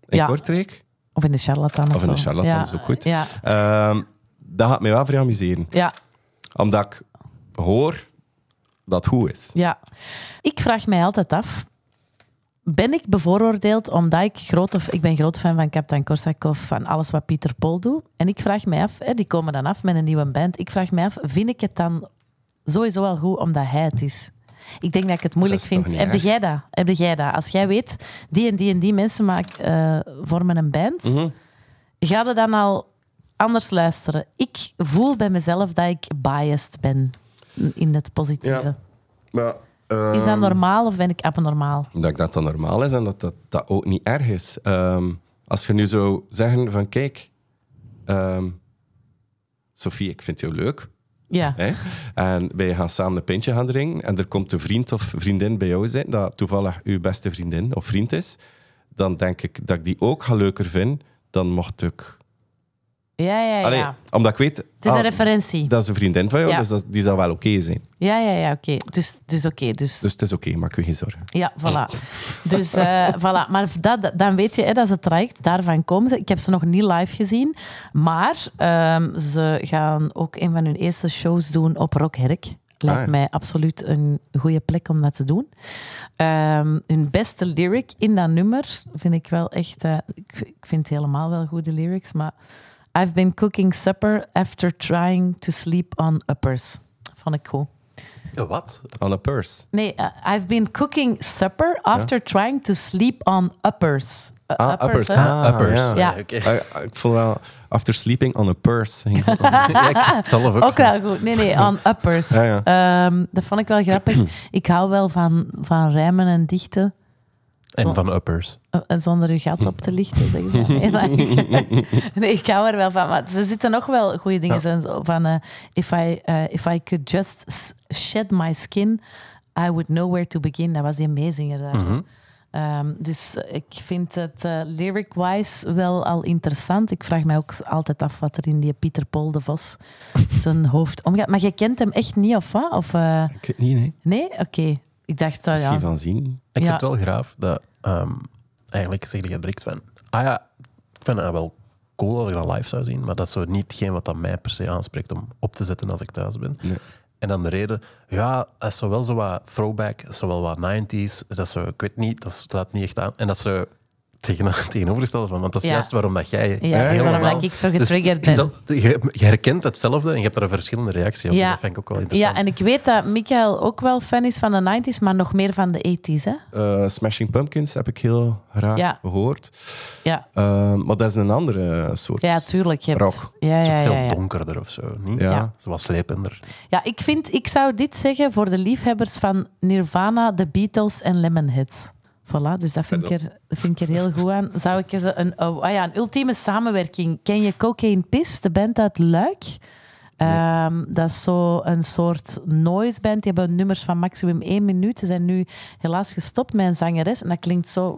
[SPEAKER 2] in
[SPEAKER 1] Ja.
[SPEAKER 2] Kortrijk
[SPEAKER 1] Of in de charlatan of,
[SPEAKER 2] of in de
[SPEAKER 1] zo.
[SPEAKER 2] charlatan,
[SPEAKER 1] Ja,
[SPEAKER 2] is ook goed.
[SPEAKER 1] Ja,
[SPEAKER 2] Ehm, dat gaat mij wel vrij amuseren.
[SPEAKER 1] ja,
[SPEAKER 2] Omdat ik hoor dat het goed is.
[SPEAKER 1] ja. Ik vraag mij altijd af... Ben ik bevooroordeeld omdat ik grote... Ik ben groot fan van Captain Korsakov, van alles wat Pieter Pol doet. En ik vraag mij af... Hè, die komen dan af met een nieuwe band. Ik vraag mij af, vind ik het dan sowieso wel goed omdat hij het is. Ik denk dat ik het moeilijk
[SPEAKER 2] Dat is toch
[SPEAKER 1] vind.
[SPEAKER 2] niet
[SPEAKER 1] Heb
[SPEAKER 2] erg?
[SPEAKER 1] jij, dat? Heb jij dat? Als jij weet, die en die en die mensen maak, eh, vormen een band,
[SPEAKER 2] Mhm.
[SPEAKER 1] ga je dan al anders luisteren? Ik voel bij mezelf dat ik biased ben in het positieve.
[SPEAKER 2] Maar,
[SPEAKER 1] Is
[SPEAKER 2] Ehm,
[SPEAKER 1] dat normaal of ben ik abnormaal?
[SPEAKER 2] dat ik dat dan normaal is en dat dat, dat ook niet erg is. Ehm, als je nu zou zeggen van kijk, ehm, Sophie, ik vind jou leuk.
[SPEAKER 1] Ja.
[SPEAKER 2] Hè? En wij gaan samen een pintje gaan drinken. En er komt een vriend of vriendin bij jou zijn, dat toevallig uw beste vriendin of vriend is. Dan denk ik dat ik die ook ga leuker vind. Dan mocht ik.
[SPEAKER 1] Ja, ja, ja.
[SPEAKER 2] Allee, omdat ik weet.
[SPEAKER 1] Het is
[SPEAKER 2] ah,
[SPEAKER 1] een referentie.
[SPEAKER 2] dat is een vriendin van jou,
[SPEAKER 1] Ja.
[SPEAKER 2] dus dat, die zal wel oké zijn.
[SPEAKER 1] Ja, ja, ja, oké. Dus, dus oké. Dus,
[SPEAKER 2] Dus het is oké, maak je geen zorgen.
[SPEAKER 1] ja, voilà. Dus, eh, voilà. Maar dat, dat- dan weet je, hè, dat is het traject. Daarvan komen ze. Ik heb ze nog niet live gezien. Maar ehm, ze gaan ook een van hun eerste shows doen op Rockherk. Lijkt
[SPEAKER 2] Ah, ja.
[SPEAKER 1] mij absoluut een goede plek om dat te doen. Ehm, hun beste lyric in dat nummer vind ik wel echt... eh, ik, ik vind helemaal wel goede lyrics, maar... I've been cooking supper after trying to sleep on uppers. Vond ik cool. Eh.
[SPEAKER 2] Oh,
[SPEAKER 3] Wat?
[SPEAKER 2] On a purse.
[SPEAKER 1] Nee, eh, I've been cooking supper after trying to sleep on uppers. Eh,
[SPEAKER 2] Ah, uppers.
[SPEAKER 1] hè?
[SPEAKER 2] Ah,
[SPEAKER 3] Uppers.
[SPEAKER 2] ja.
[SPEAKER 1] Ja.
[SPEAKER 3] oké.
[SPEAKER 2] Ah, ik vond wel, after sleeping on a purse.
[SPEAKER 3] Ja, ik ik zal zelf ook.
[SPEAKER 1] Ook wel goed. Nee, nee, on uppers.
[SPEAKER 2] Ja, ja.
[SPEAKER 1] Ehm, dat vond ik wel grappig. ik hou wel van, van rijmen en dichten.
[SPEAKER 3] En van uppers.
[SPEAKER 1] eh, eh, Zonder uw gat op te lichten, zeggen ze. Nee, maar ik- Nee, ik hou er wel van. Maar er zitten nog wel goede dingen in. zo Van, eh, if, I, eh, if I could just s- shed my skin, I would know where to begin. Dat was die Meezinger daar. Ehm, dus eh, ik vind het eh, lyric-wise wel al interessant. Ik vraag mij ook s- altijd af wat er in die Pieter Paul de Vos zijn hoofd omgaat. Maar je kent hem echt niet, of wat? Of, eh,
[SPEAKER 2] Ik weet niet, nee.
[SPEAKER 1] nee? Oké. Ik dacht, ah,
[SPEAKER 2] Misschien
[SPEAKER 1] ja.
[SPEAKER 2] van zien.
[SPEAKER 3] Ik
[SPEAKER 1] Ja.
[SPEAKER 3] vind het wel graaf dat ehm, eigenlijk zeg je direct van, ah ja, ik vind het wel cool als ik dat live zou zien, maar dat is zo niet hetgeen wat dat mij per se aanspreekt om op te zetten als ik thuis ben. En dan de reden, ja, dat is zo wel zo wat throwback, dat is zo wel wat 90s, dat is zo, ik weet niet, dat slaat niet echt aan. En dat is zo tegen, tegenovergestelde van, want dat is
[SPEAKER 1] Ja.
[SPEAKER 3] juist waarom dat jij
[SPEAKER 1] Ja, dat is waarom
[SPEAKER 3] helemaal-
[SPEAKER 1] dat ik zo
[SPEAKER 3] Dus
[SPEAKER 1] getriggerd
[SPEAKER 3] je
[SPEAKER 1] ben.
[SPEAKER 3] zal- Je, je herkent hetzelfde en je hebt daar een verschillende reactie op.
[SPEAKER 1] Ja.
[SPEAKER 3] Dus dat vind ik ook wel
[SPEAKER 1] Ja,
[SPEAKER 3] interessant.
[SPEAKER 1] en ik weet dat Michael ook wel fan is van de 90s, maar nog meer van de 80s. Hè?
[SPEAKER 2] Eh, Smashing Pumpkins heb ik heel graag
[SPEAKER 1] Ja.
[SPEAKER 2] gehoord.
[SPEAKER 1] Ja.
[SPEAKER 2] Eh, maar dat is een andere soort.
[SPEAKER 1] ja, tuurlijk. Je hebt...
[SPEAKER 2] Rock.
[SPEAKER 1] Ja,
[SPEAKER 3] Het is
[SPEAKER 1] ja,
[SPEAKER 3] ook
[SPEAKER 1] ja,
[SPEAKER 3] veel
[SPEAKER 1] ja.
[SPEAKER 3] donkerder of zo, niet?
[SPEAKER 2] Ja.
[SPEAKER 1] Ja.
[SPEAKER 3] Zo wat slepender.
[SPEAKER 1] ja, ik vind, ik zou dit zeggen voor de liefhebbers van Nirvana, The Beatles en Lemonheads. Voilà, dus dat vind, ik er, dat vind ik er heel goed aan. Zou ik eens een, een, oh, ah ja, een ultieme samenwerking. Ken je Cocaine Piss, de band uit Luik? Ehm, dat is zo een soort noise band. Die hebben nummers van maximum één minuut. Ze zijn nu helaas gestopt met een zangeres. En dat klinkt zo...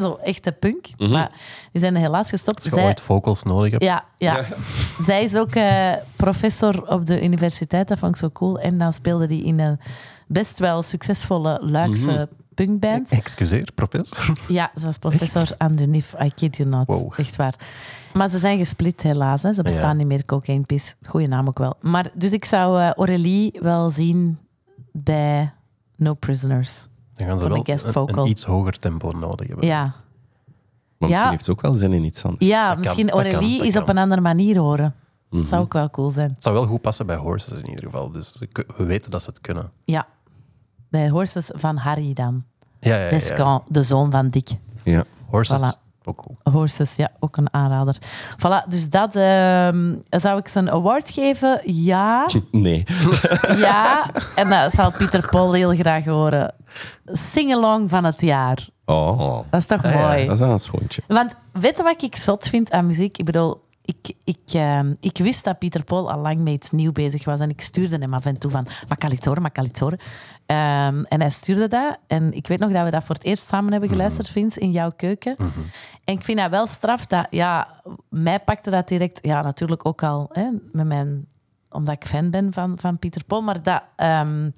[SPEAKER 1] Zo echte punk. Maar die zijn helaas gestopt.
[SPEAKER 3] Als je
[SPEAKER 1] Zij-
[SPEAKER 3] ooit vocals nodig hebt,
[SPEAKER 1] Ja, ja. Zij is ook eh, professor op de universiteit. Dat vond ik zo cool. En dan speelde die in een best wel succesvolle Luikse
[SPEAKER 3] Mhm.
[SPEAKER 1] punkband.
[SPEAKER 3] Eh, Excuseer, professor.
[SPEAKER 1] Ja, ze was professor aan de NIF. I kid you not.
[SPEAKER 3] eh. Wow.
[SPEAKER 1] Echt waar. Maar ze zijn gesplit helaas. Hè. Ze bestaan
[SPEAKER 3] Ja.
[SPEAKER 1] niet meer, Cocaine Piss. Goeie naam ook wel. Maar, dus ik zou eh Aurélie wel zien bij No Prisoners.
[SPEAKER 3] Dan gaan
[SPEAKER 1] Van
[SPEAKER 3] ze
[SPEAKER 1] een
[SPEAKER 3] wel
[SPEAKER 1] guest
[SPEAKER 3] een,
[SPEAKER 1] vocal.
[SPEAKER 3] een iets hoger tempo nodig hebben.
[SPEAKER 1] Ja,
[SPEAKER 2] Maar misschien
[SPEAKER 1] Ja.
[SPEAKER 2] heeft ze ook wel zin in iets anders.
[SPEAKER 1] ja
[SPEAKER 3] kan,
[SPEAKER 1] misschien
[SPEAKER 3] dat kan,
[SPEAKER 1] Aurélie
[SPEAKER 3] dat
[SPEAKER 1] is op
[SPEAKER 3] kan. Mhm.
[SPEAKER 1] een andere manier horen. Dat zou ook wel cool zijn.
[SPEAKER 3] Het zou wel goed passen bij horses in ieder geval. Dus we we weten dat ze het kunnen.
[SPEAKER 1] Ja. Bij Horses van Harry dan.
[SPEAKER 3] Ja, ja, ja. ja.
[SPEAKER 1] Descamps, de zoon van Dick.
[SPEAKER 2] Ja.
[SPEAKER 3] Horses,
[SPEAKER 1] Voilà.
[SPEAKER 3] ook cool.
[SPEAKER 1] Horses, ja, ook een aanrader. Voilà, dus dat... ehm, zou ik ze een award geven? Ja.
[SPEAKER 2] Nee.
[SPEAKER 1] Ja. En dat zal Pieter Paul heel graag horen. Sing-along van het jaar.
[SPEAKER 2] Oh,
[SPEAKER 1] Dat is toch
[SPEAKER 3] Ah, ja,
[SPEAKER 1] mooi?
[SPEAKER 2] dat is wel een schoontje.
[SPEAKER 1] Want weet je wat ik zot vind aan muziek? Ik bedoel, ik, ik, ehm, ik wist dat Pieter Paul al lang met iets nieuw bezig was. En ik stuurde hem af en toe van, maar kan ik het horen, maar kan ik het horen? Ehm, en hij stuurde dat. En ik weet nog dat we dat voor het eerst samen hebben geluisterd, Vince, in jouw keuken. En ik vind dat wel straf dat, ja, mij pakte dat direct, ja, natuurlijk ook al hè, met mijn, omdat ik fan ben van, van Pieter Paul. Maar dat, ehm,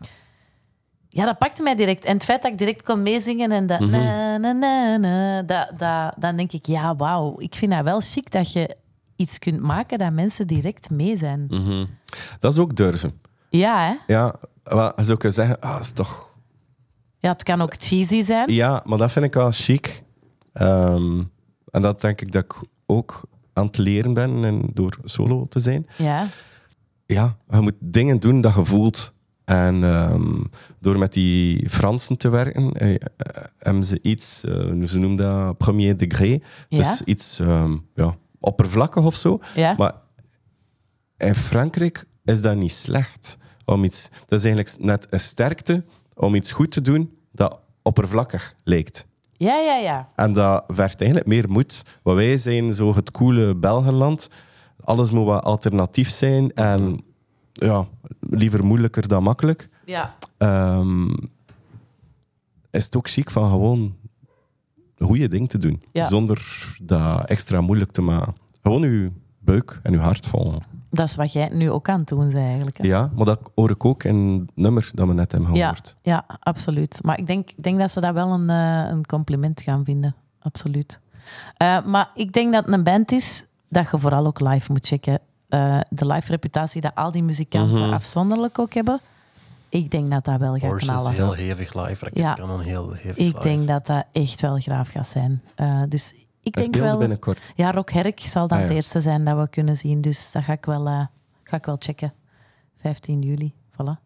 [SPEAKER 1] ja, dat pakte mij direct. En het feit dat ik direct kon meezingen en dat, na, na, na, na, dat, dat, dan denk ik, ja, wauw. Ik vind dat wel chic dat je iets kunt maken dat mensen direct mee zijn.
[SPEAKER 2] Mhm. Dat is ook durven.
[SPEAKER 1] Ja, hè?
[SPEAKER 2] Ja, wel, je zou kunnen zeggen, ah, is toch...
[SPEAKER 1] Ja, het kan ook cheesy zijn.
[SPEAKER 2] Ja, maar dat vind ik wel chic. Ehm, en dat denk ik dat ik ook aan het leren ben en door solo te zijn.
[SPEAKER 1] Ja,
[SPEAKER 2] ja, je moet dingen doen dat je voelt. En ehm, door met die Fransen te werken, eh, eh, hebben ze iets, eh, ze noemen dat premier degré.
[SPEAKER 1] Ja.
[SPEAKER 2] Dus iets ehm, ja, oppervlakkig of zo.
[SPEAKER 1] Ja.
[SPEAKER 2] Maar in Frankrijk is dat niet slecht. Om iets, dat is eigenlijk net een sterkte om iets goed te doen dat oppervlakkig lijkt.
[SPEAKER 1] ja, ja. ja.
[SPEAKER 2] En dat vergt eigenlijk meer moed. Want wij zijn zo het coole Belgenland alles moet wat alternatief zijn. En ja, liever moeilijker dan makkelijk.
[SPEAKER 1] Ja.
[SPEAKER 2] Ehm, is het ook ziek van gewoon goede ding te doen.
[SPEAKER 1] Ja.
[SPEAKER 2] Zonder dat extra moeilijk te maken. Gewoon uw buik en uw hart volgen.
[SPEAKER 1] Dat is wat jij nu ook aan het doen bent eigenlijk. hè?
[SPEAKER 2] Ja, maar dat hoor ik ook in het nummer dat we net hebben
[SPEAKER 1] ja,
[SPEAKER 2] gehoord.
[SPEAKER 1] ja, absoluut. Maar ik denk, ik denk dat ze dat wel een, eh, een compliment gaan vinden. Absoluut. Eh, maar ik denk dat het een band is dat je vooral ook live moet checken. Eh, de live reputatie dat al die muzikanten afzonderlijk ook hebben. Ik denk dat dat wel gaat
[SPEAKER 3] Horse is
[SPEAKER 1] knallen.
[SPEAKER 3] heel hevig live. Raket
[SPEAKER 1] Ja.
[SPEAKER 3] kan dan heel hevig
[SPEAKER 1] Ik
[SPEAKER 3] live.
[SPEAKER 1] denk dat dat echt wel graaf gaat zijn. Eh, dus ik
[SPEAKER 2] Dat
[SPEAKER 1] denk
[SPEAKER 2] spelen ze
[SPEAKER 1] wel...
[SPEAKER 2] binnenkort.
[SPEAKER 1] Ja, Rock Herk zal dan
[SPEAKER 2] Ah, ja.
[SPEAKER 1] het eerste zijn dat we kunnen zien. Dus dat ga ik wel, eh, ga ik wel checken. 15 juli, voilà.
[SPEAKER 3] Dan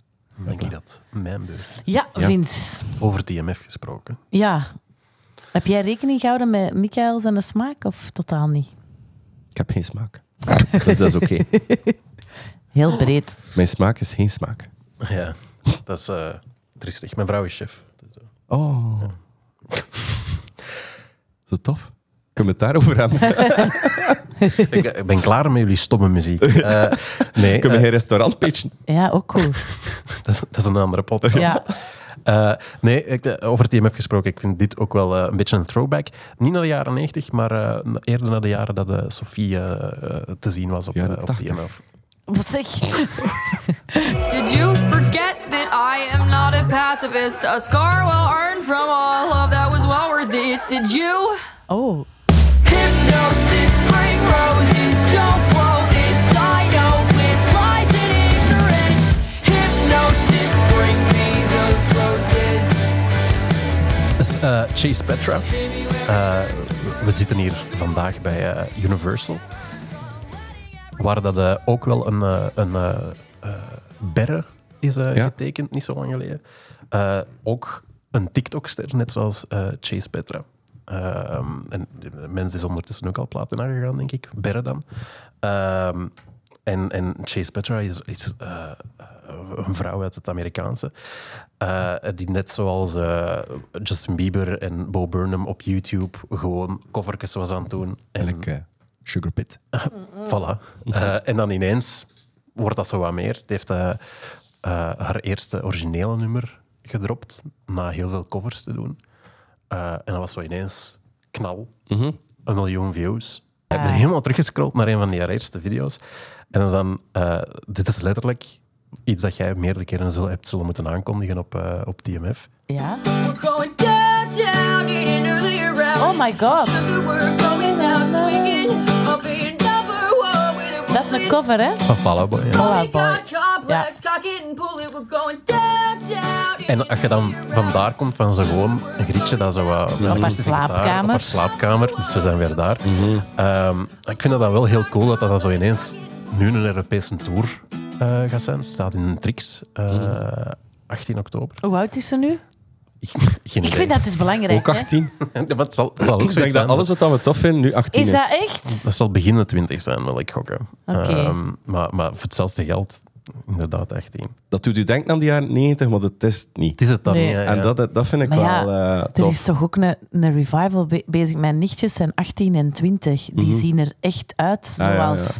[SPEAKER 3] denk ik dat mijn beurt.
[SPEAKER 1] Ja,
[SPEAKER 2] Ja.
[SPEAKER 1] Vince.
[SPEAKER 3] Over TMF gesproken.
[SPEAKER 1] Ja. Heb jij rekening gehouden met Michael zijn smaak of totaal niet?
[SPEAKER 2] Ik heb geen smaak. dus dat is oké.
[SPEAKER 1] Heel breed.
[SPEAKER 2] Mijn smaak is geen smaak.
[SPEAKER 3] Ja, dat is eh triestig. Mijn vrouw is chef. Dus, eh,
[SPEAKER 2] Oh. Zo tof. Kunnen we het daarover hebben?
[SPEAKER 3] ik, ik ben klaar met jullie stomme muziek. Eh, nee,
[SPEAKER 2] Kunnen
[SPEAKER 3] eh,
[SPEAKER 2] we geen restaurant pitchen?
[SPEAKER 1] Ja, ook cool.
[SPEAKER 3] dat, is, dat is een andere podcast.
[SPEAKER 1] Ja,
[SPEAKER 3] Eh, nee, ik, eh, over TMF gesproken, ik vind dit ook wel eh, een beetje een throwback. Niet naar de jaren 90, maar eh, na- eerder naar de jaren dat eh Sophie eh, eh, te zien was op,
[SPEAKER 2] Jaren
[SPEAKER 3] eh, op
[SPEAKER 2] 80.
[SPEAKER 3] TMF.
[SPEAKER 1] Wat zeg.
[SPEAKER 5] Did you forget that I am not a pacifist? A scar well earned from all of that was well worth it. Did you?
[SPEAKER 1] Oh,
[SPEAKER 5] Hypnosis, bring roses, don't blow this. I know this lies in ignorance. Hypnosis, bring me those roses.
[SPEAKER 3] Dat is eh, Chase Petra. Eh, we zitten hier vandaag bij eh, Universal. Waar dat eh, ook wel een, eh, een eh, eh, berre is eh,
[SPEAKER 2] Ja.
[SPEAKER 3] getekend, niet zo lang geleden. Eh, ook een TikTokster, net zoals eh, Chase Petra. Ehm, en de mens is ondertussen ook al platina gegaan, denk ik. Berre dan. Ehm, en, en Chase Petra is, is eh, een vrouw uit het Amerikaanse. eh, die net zoals eh, Justin Bieber en Bo Burnham op YouTube gewoon covertjes was aan het doen. En,
[SPEAKER 2] Eigenlijk eh, Sugar Pit.
[SPEAKER 3] Voilà. Eh, en dan ineens wordt dat zo wat meer. Die heeft eh, eh, haar eerste originele nummer gedropt na heel veel covers te doen. Eh, en dat was zo ineens knal. Een miljoen views. Ik ben helemaal teruggescrolld naar een van die haar eerste video's. En dat is dan, eh, dit is letterlijk iets dat jij meerdere keren zul, hebt zullen moeten aankondigen op, eh, op TMF.
[SPEAKER 1] ja.
[SPEAKER 5] We're going downtown in an earlier round.
[SPEAKER 1] Oh my god.
[SPEAKER 5] Sugar, we're going down swinging. I'll be in number one with a
[SPEAKER 1] Dat is een cover, hè?
[SPEAKER 3] Van Fall Out Boy, ja.
[SPEAKER 1] Fallout
[SPEAKER 5] We
[SPEAKER 1] Boy.
[SPEAKER 5] got complex, cock it and pull it, we're going downtown.
[SPEAKER 3] En als je dan vandaar komt van zo gewoon een grietje dat zo wat
[SPEAKER 1] haar
[SPEAKER 3] links is gitaar,
[SPEAKER 1] slaapkamer.
[SPEAKER 3] op haar slaapkamer, dus we zijn weer daar. Ehm, ik vind dat dan wel heel cool dat dat dan zo ineens nu een Europese tour eh, gaat zijn. Het staat in Trix, eh, 18 oktober.
[SPEAKER 1] Hoe oud is ze nu?
[SPEAKER 3] Geen
[SPEAKER 1] Ik vind dat dus belangrijk.
[SPEAKER 2] Ook 18.
[SPEAKER 3] dat... het zal, het zal ook
[SPEAKER 2] Ik
[SPEAKER 3] zoiets
[SPEAKER 2] denk
[SPEAKER 3] zijn
[SPEAKER 2] dat alles wat we tof vinden nu 18
[SPEAKER 1] Is
[SPEAKER 2] is.
[SPEAKER 1] dat echt?
[SPEAKER 3] Dat zal begin de 20 zijn, wil ik gokken.
[SPEAKER 1] Oké.
[SPEAKER 3] Ehm, maar, maar voor hetzelfde geld, inderdaad 18.
[SPEAKER 2] Dat doet u denken aan de jaren 90, maar dat is het niet.
[SPEAKER 3] Het is het dan
[SPEAKER 1] Nee.
[SPEAKER 3] niet. ja,
[SPEAKER 2] En
[SPEAKER 3] ja.
[SPEAKER 2] dat, dat vind ik
[SPEAKER 1] Maar ja,
[SPEAKER 2] wel eh,
[SPEAKER 1] Er
[SPEAKER 2] tof.
[SPEAKER 1] is toch ook een, een revival be- bezig. Mijn nichtjes zijn 18 en 20. Die zien er echt uit
[SPEAKER 2] Mhm. Ah, ja, ja.
[SPEAKER 1] zoals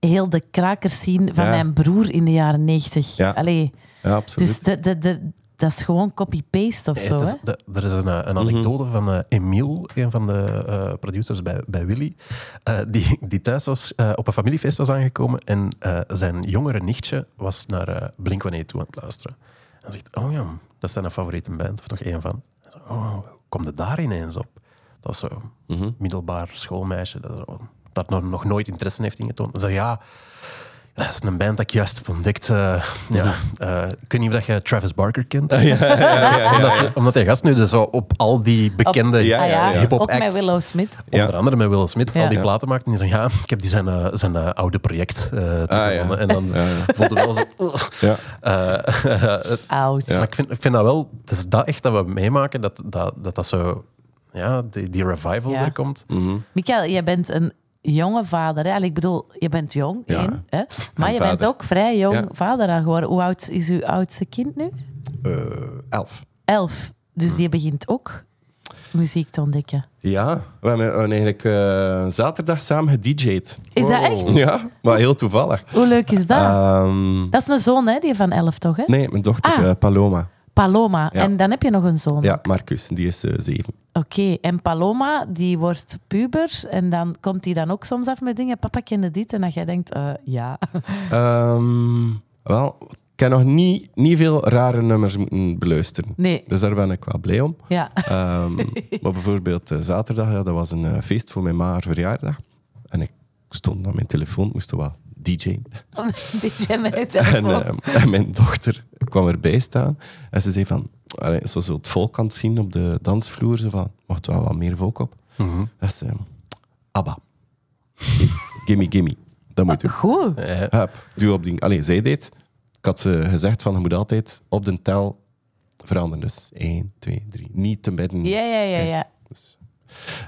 [SPEAKER 1] heel de krakers zien van
[SPEAKER 2] Ja.
[SPEAKER 1] mijn broer in de jaren 90.
[SPEAKER 2] Ja.
[SPEAKER 1] Allee,
[SPEAKER 2] Ja, absoluut.
[SPEAKER 1] dus de, de, de, dat is gewoon copy-paste of
[SPEAKER 3] Nee,
[SPEAKER 1] zo.
[SPEAKER 3] het is-
[SPEAKER 1] Hè?
[SPEAKER 3] de- er is een, eh, een anekdote van eh Emiel, een van de eh, producers bij, bij Willy, eh, die, die thuis was, eh, op een familiefeest was aangekomen en eh, zijn jongere nichtje was naar eh Blink-182 aan het luisteren. En zegt, oh ja, dat is zijn favoriete band, of toch één van. En zo, oh, hoe komt het daar ineens op? Dat is zo, middelbaar schoolmeisje, dat, zo- dat nog, nog nooit interesse heeft ingetoond. En zo, ja... Dat is een band dat ik juist heb ontdekt. eh, ja. eh, ik weet niet of dat je Travis Barker kent omdat, omdat die gast nu dus zo op al die bekende
[SPEAKER 2] Op- ja,
[SPEAKER 1] Ah ja,
[SPEAKER 2] ja.
[SPEAKER 3] hip-hop
[SPEAKER 1] ook met
[SPEAKER 3] acts,
[SPEAKER 1] Willow Smith.
[SPEAKER 3] onder andere met Willow Smith,
[SPEAKER 1] Ja.
[SPEAKER 3] al die
[SPEAKER 1] Ja.
[SPEAKER 3] platen maakt. En die zeggen, ja, ik heb die zijn, eh, zijn eh, oude project
[SPEAKER 1] Ah,
[SPEAKER 3] eh teruggevonden.
[SPEAKER 2] ja.
[SPEAKER 3] En dan
[SPEAKER 2] Ja, ja.
[SPEAKER 3] voelde wel zo... "Ugh."
[SPEAKER 2] Ja.
[SPEAKER 3] Eh,
[SPEAKER 1] Oud.
[SPEAKER 3] Maar ik vind, ik vind dat wel... Het is dat echt dat we meemaken, dat dat, dat, dat zo... Ja, die, die revival
[SPEAKER 1] Ja. Mm.
[SPEAKER 3] er komt.
[SPEAKER 1] Michael, jij bent een jonge vader. Hè? Allee, ik bedoel, je bent jong,
[SPEAKER 2] Ja.
[SPEAKER 1] één, hè? maar
[SPEAKER 2] En
[SPEAKER 1] je bent
[SPEAKER 2] vader.
[SPEAKER 1] ook vrij jong
[SPEAKER 2] Ja.
[SPEAKER 1] vader aan geworden. Hoe oud is uw oudste kind nu?
[SPEAKER 2] Eh, elf. Hm.
[SPEAKER 1] Elf. Dus die begint ook muziek te ontdekken.
[SPEAKER 2] Ja, we hebben we hebben eigenlijk eh, zaterdag samen gedj'd.
[SPEAKER 1] Is dat echt?
[SPEAKER 2] Ja, maar heel toevallig.
[SPEAKER 1] Hoe leuk is dat?
[SPEAKER 2] Ehm,
[SPEAKER 1] dat is een zoon, hè, die van elf, toch? Hè?
[SPEAKER 2] nee, mijn dochter
[SPEAKER 1] Ah.
[SPEAKER 2] eh, Paloma.
[SPEAKER 1] Paloma.
[SPEAKER 2] Ja.
[SPEAKER 1] En dan heb je nog een zoon.
[SPEAKER 2] Ja, Marcus, die is eh, zeven.
[SPEAKER 1] Oké, en Paloma, die wordt puber en dan komt die dan ook soms af met dingen. Papa kende dit en dat jij denkt, eh, ja.
[SPEAKER 2] Ehm, wel, ik heb nog niet, niet veel rare nummers moeten beluisteren.
[SPEAKER 1] Nee,
[SPEAKER 2] Dus daar ben ik wel blij om.
[SPEAKER 1] ja.
[SPEAKER 2] Ehm, maar bijvoorbeeld eh, zaterdag, ja, dat was een eh, feest voor mijn ma haar verjaardag. En ik stond aan mijn telefoon, moest wel DJ.
[SPEAKER 1] Dit jij met het
[SPEAKER 2] En,
[SPEAKER 1] telefoon.
[SPEAKER 2] eh, en mijn dochter kwam erbij staan en ze zei van... allee, Zoals we het volk aan het zien op de dansvloer, ze van... Mocht wel wat meer volk op? Dat is... eh, Abba. gimme, gimme. Dat moet je.
[SPEAKER 1] Goed.
[SPEAKER 2] Hup, duw op die... Allee, zij deed. Ik had ze gezegd van, je moet altijd op de tel veranderen. Dus 1, 2, 3. Niet te midden.
[SPEAKER 1] Ja, ja, ja, ja.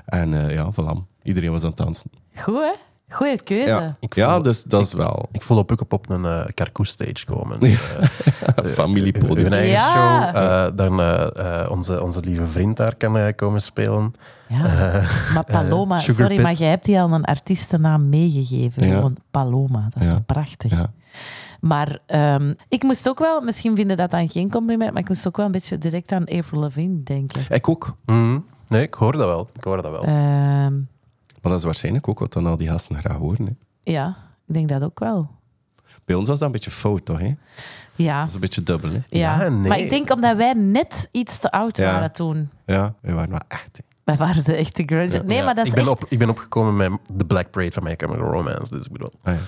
[SPEAKER 2] En eh, ja, voilà. Iedereen was aan het dansen.
[SPEAKER 1] Goed, hè? Goeie keuze.
[SPEAKER 2] Ja,
[SPEAKER 3] Ik
[SPEAKER 2] ja
[SPEAKER 3] voel-
[SPEAKER 2] dus dat is wel
[SPEAKER 3] Ik voel op Pukkelpop een eh Carcoes stage komen. eh,
[SPEAKER 2] een familiepodium.
[SPEAKER 3] Hun eigen
[SPEAKER 1] Ja.
[SPEAKER 3] show. eh, dan eh, eh, onze, onze lieve vriend daar kan eh, komen spelen.
[SPEAKER 1] Ja.
[SPEAKER 2] Eh,
[SPEAKER 1] maar Paloma,
[SPEAKER 3] eh, Sugar
[SPEAKER 1] sorry,
[SPEAKER 3] Pit.
[SPEAKER 1] maar jij hebt die al een artiestennaam meegegeven.
[SPEAKER 2] Ja.
[SPEAKER 1] Gewoon Paloma, dat is
[SPEAKER 2] Ja.
[SPEAKER 1] toch prachtig.
[SPEAKER 2] Ja.
[SPEAKER 1] Maar ehm, ik moest ook wel, misschien vinden dat dan geen compliment, maar ik moest ook wel een beetje direct aan Avril Lavigne denken.
[SPEAKER 2] Ik ook.
[SPEAKER 3] Mhm. Nee, ik hoor dat wel. Ik hoor
[SPEAKER 2] Oh.
[SPEAKER 3] dat wel.
[SPEAKER 1] Ehm,
[SPEAKER 2] Maar dat is waarschijnlijk ook wat dan al die gasten graag horen. Hè.
[SPEAKER 1] ja, ik denk dat ook wel.
[SPEAKER 2] Bij ons was dat een beetje fout, toch? Hè? Dat
[SPEAKER 1] Ja,
[SPEAKER 2] is een beetje dubbel, hè?
[SPEAKER 1] ja.
[SPEAKER 3] Ja, nee.
[SPEAKER 1] maar ik denk omdat wij net iets te oud
[SPEAKER 2] Ja.
[SPEAKER 1] waren toen.
[SPEAKER 2] Ja, we waren wel echt. hè.
[SPEAKER 1] Wij waren de echte grunge. Nee,
[SPEAKER 3] Ja,
[SPEAKER 1] maar dat is
[SPEAKER 3] ik ben,
[SPEAKER 1] echt...
[SPEAKER 3] op, ik ben opgekomen met de Black Parade van My Chemical Romance. Dus ik bedoel,
[SPEAKER 2] Ah, ja.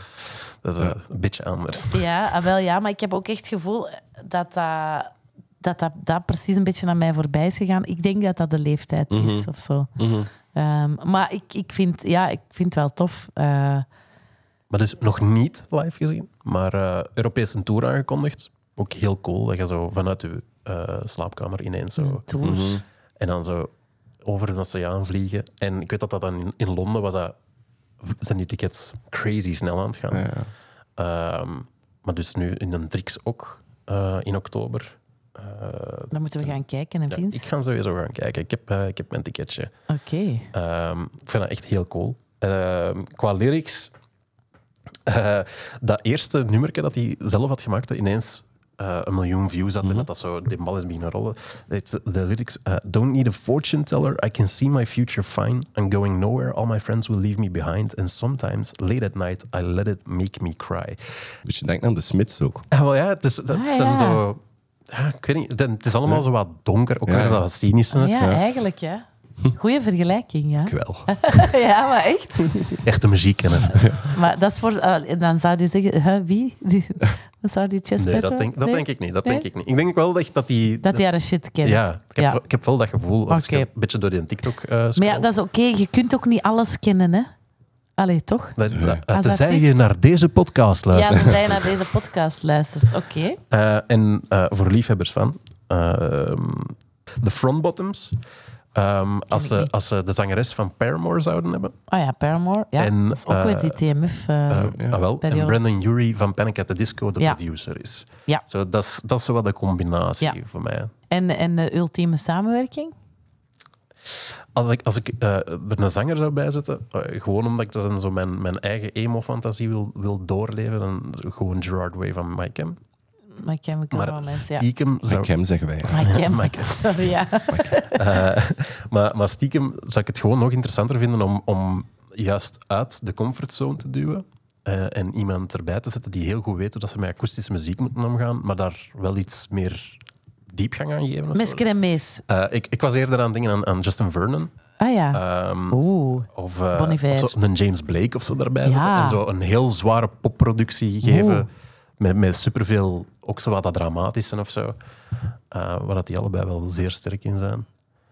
[SPEAKER 3] dat is eh, een beetje anders.
[SPEAKER 1] Ja, ah, wel ja, maar ik heb ook echt het gevoel dat dat, dat, dat, dat precies een beetje aan mij voorbij is gegaan. Ik denk dat dat de leeftijd
[SPEAKER 3] Mhm.
[SPEAKER 1] is of zo. Ehm, maar ik, ik, vind, ja, ik vind het wel tof. Eh,
[SPEAKER 3] Maar dus nog niet live gezien, maar eh Europees een tour aangekondigd. Ook heel cool dat je zo vanuit je eh, slaapkamer ineens zo...
[SPEAKER 1] tour.
[SPEAKER 3] En dan zo over de oceaan vliegen. En ik weet dat dat dan in, in Londen was dat... Zijn die tickets crazy snel aan het gaan. Ehm, maar dus nu in een Drix ook, eh, in oktober. Eh,
[SPEAKER 1] Dan moeten we gaan kijken, hè,
[SPEAKER 3] ja,
[SPEAKER 1] Vince?
[SPEAKER 3] ik ga sowieso gaan kijken. Ik heb, eh, ik heb mijn ticketje.
[SPEAKER 1] Oké.
[SPEAKER 3] Ehm, ik vind dat echt heel cool. Ehm, qua lyrics, eh, dat eerste nummerke dat hij zelf had gemaakt, dat ineens eh, een miljoen views
[SPEAKER 2] Mhm.
[SPEAKER 3] had en dat dat zo de bal is beginnen rollen. Het- De lyrics, eh, don't need a fortune teller, I can see my future fine. I'm going nowhere, all my friends will leave me behind. And sometimes, late at night, I let it make me cry.
[SPEAKER 2] Dus je denkt aan de Smits ook.
[SPEAKER 3] Ah, wel ja, het is, dat
[SPEAKER 1] Ah,
[SPEAKER 3] zijn
[SPEAKER 1] ja.
[SPEAKER 3] zo... Ja, ik weet niet, het is allemaal zo wat donker, ook
[SPEAKER 2] Ja,
[SPEAKER 3] weer
[SPEAKER 2] ja.
[SPEAKER 3] dat wat cynisch.
[SPEAKER 1] Ja, eigenlijk, ja.
[SPEAKER 3] Hm.
[SPEAKER 1] Goeie vergelijking, ja.
[SPEAKER 2] Ik wel.
[SPEAKER 1] ja, maar echt.
[SPEAKER 3] Echte muziek kennen.
[SPEAKER 1] Maar dat is voor... eh, dan zou die zeggen, hè, wie? Die, dan zou die Chess
[SPEAKER 3] Nee,
[SPEAKER 1] Petro?
[SPEAKER 3] dat, denk, dat
[SPEAKER 1] Nee?
[SPEAKER 3] denk ik niet. Dat
[SPEAKER 1] Nee?
[SPEAKER 3] denk ik niet. Ik denk wel echt dat die...
[SPEAKER 1] Dat die haar shit kent.
[SPEAKER 3] ja, ik heb, wel- ik heb wel dat gevoel als
[SPEAKER 1] Oké.
[SPEAKER 3] ik een beetje door die TikTok eh
[SPEAKER 1] Maar ja,
[SPEAKER 3] scroll.
[SPEAKER 1] dat is oké. Je kunt ook niet alles kennen, hè? Allee, toch?
[SPEAKER 3] Dat- dat-
[SPEAKER 1] Als
[SPEAKER 3] Tenzij
[SPEAKER 1] artiest.
[SPEAKER 3] je naar deze podcast
[SPEAKER 1] Ja,
[SPEAKER 3] luistert.
[SPEAKER 1] dat jij naar deze podcast luistert. Oké.
[SPEAKER 3] Eh, en eh, voor liefhebbers van... ehm, de Frontbottoms. ehm als,
[SPEAKER 1] ik
[SPEAKER 3] ze,
[SPEAKER 1] niet.
[SPEAKER 3] als ze de zangeres van Paramore zouden hebben.
[SPEAKER 1] Oh ja, Paramore. Ja,
[SPEAKER 3] En,
[SPEAKER 1] dat is ook weer die TMF. eh,
[SPEAKER 3] eh, ah, wel. En
[SPEAKER 1] periode.
[SPEAKER 3] Brandon Urie van Panic! at the Disco de
[SPEAKER 1] Ja.
[SPEAKER 3] producer is.
[SPEAKER 1] Ja.
[SPEAKER 3] Zo, dat, is, dat is zo wat de combinatie
[SPEAKER 1] Ja.
[SPEAKER 3] voor mij.
[SPEAKER 1] en, en de ultieme samenwerking.
[SPEAKER 3] Als ik, als ik eh, er een zanger zou bijzetten, eh, gewoon omdat ik dat dan zo mijn, mijn eigen emo-fantasie wil, wil doorleven, dan gewoon Gerard Way van Mike Hem.
[SPEAKER 1] My Chemical
[SPEAKER 3] Maar
[SPEAKER 1] Romance, Oh, ja.
[SPEAKER 3] stiekem
[SPEAKER 2] Zou...
[SPEAKER 3] zou,
[SPEAKER 2] hem zeggen wij. ja.
[SPEAKER 1] My Chemical,
[SPEAKER 3] My Chem.
[SPEAKER 1] sorry, ja.
[SPEAKER 3] eh, maar, maar stiekem zou ik het gewoon nog interessanter vinden om, om juist uit de comfortzone te duwen. eh, en iemand erbij te zetten die heel goed weet hoe dat ze met akoestische muziek moeten omgaan, maar daar wel iets meer diepgang aan geven. of zo.
[SPEAKER 1] Mesker en Mees.
[SPEAKER 3] Eh, ik, ik was eerder aan dingen aan, aan Justin Vernon.
[SPEAKER 1] Ah ja.
[SPEAKER 3] Ehm,
[SPEAKER 1] Oeh.
[SPEAKER 3] Of, eh,
[SPEAKER 1] Bon Iver.
[SPEAKER 3] of zo een James Blake of zo daarbij
[SPEAKER 1] Ja.
[SPEAKER 3] zetten. En zo een heel zware popproductie geven.
[SPEAKER 1] Oeh.
[SPEAKER 3] Met, met superveel, ook zo wat dat dramatische of zo. Eh, waar dat die allebei wel zeer sterk in zijn.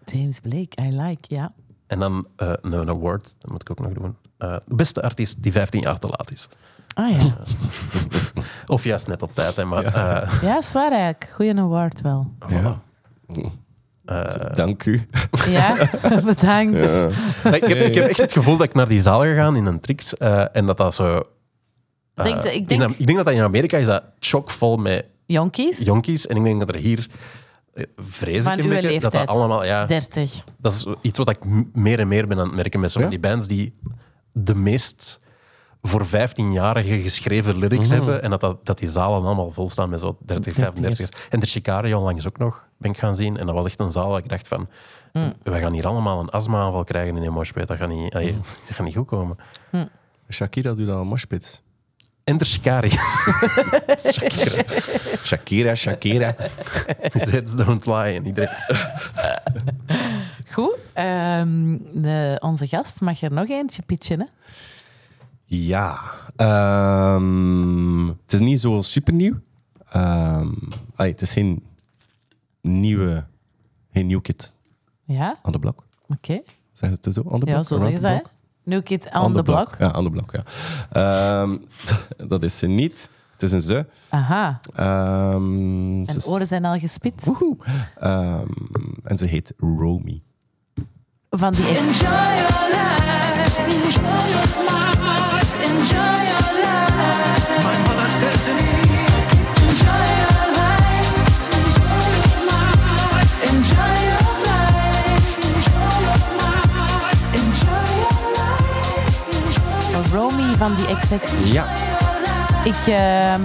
[SPEAKER 1] James Blake, I like, ja.
[SPEAKER 3] En dan eh, een- een award, dat moet ik ook nog doen. Eh, beste artiest die 15 jaar te laat is.
[SPEAKER 1] Ah ja.
[SPEAKER 3] Of juist net op tijd, hè, maar... eh,
[SPEAKER 1] Ja, zwaar eigenlijk. Goeie award wel.
[SPEAKER 2] Ja. Dank u.
[SPEAKER 3] Eh.
[SPEAKER 1] Ja, bedankt.
[SPEAKER 3] ik, heb, ik heb echt het gevoel dat ik naar die zaal gegaan in een tricks. eh, en dat dat zo... eh,
[SPEAKER 1] Denk dat- ik
[SPEAKER 3] in
[SPEAKER 1] denk-
[SPEAKER 3] Am- ik denk dat dat in Amerika is dat chockvol met
[SPEAKER 1] Jonkies?
[SPEAKER 3] jonkies. En ik denk dat er hier eh, vrees
[SPEAKER 1] Van
[SPEAKER 3] ik een
[SPEAKER 1] uw
[SPEAKER 3] beetje dat
[SPEAKER 1] leeftijd.
[SPEAKER 3] dat allemaal... Ja,
[SPEAKER 1] 30.
[SPEAKER 3] dat is iets wat ik m- meer en meer ben aan het merken met zo'n
[SPEAKER 2] Ja?
[SPEAKER 3] die bands die de meest voor 15-jarigen geschreven lyrics hebben en dat, dat, dat die zalen allemaal vol staan met zo 30, 35. En de Chicago onlangs ook nog ben ik gaan zien en dat was echt een zaal waar ik dacht van we gaan hier allemaal een astmaaanval krijgen in een moshpit. Dat gaat niet, allee, dat gaat niet goed komen.
[SPEAKER 2] Shakira doet al moshpits.
[SPEAKER 3] En de Shikari.
[SPEAKER 2] Shakira, Shakira.
[SPEAKER 3] His heads don't lie. En iedereen...
[SPEAKER 1] Goed. Ehm, de- onze gast mag er nog eentje pitchen. Hè?
[SPEAKER 2] Ja, ehm, het is niet zo super nieuw. het is geen nieuwe, geen new kid
[SPEAKER 1] Ja,
[SPEAKER 2] aan de blok.
[SPEAKER 1] oké.
[SPEAKER 2] Zeggen ze het zo? On the
[SPEAKER 1] Ja,
[SPEAKER 2] block?
[SPEAKER 1] zo zeggen
[SPEAKER 2] Around
[SPEAKER 1] ze
[SPEAKER 2] the
[SPEAKER 1] dat.
[SPEAKER 2] block?
[SPEAKER 1] hè. New Kid on,
[SPEAKER 2] On
[SPEAKER 1] the block.
[SPEAKER 2] Ja, on the block, ja. Ehm, dat is ze niet. Het is een ze.
[SPEAKER 1] Aha.
[SPEAKER 2] Ehm, ze
[SPEAKER 1] En
[SPEAKER 2] is-
[SPEAKER 1] oren zijn al gespitst.
[SPEAKER 2] Woehoe. Ehm, en ze heet Romy.
[SPEAKER 1] Van die ex-
[SPEAKER 5] Enjoy your life. Enjoy your life. Enjoy your life. My mother said to me, Enjoy your life. Enjoy your life. Enjoy your life. Enjoy your life. Enjoy your life. Enjoy
[SPEAKER 1] Romy van die XX.
[SPEAKER 2] Ja.
[SPEAKER 1] Ik ehm,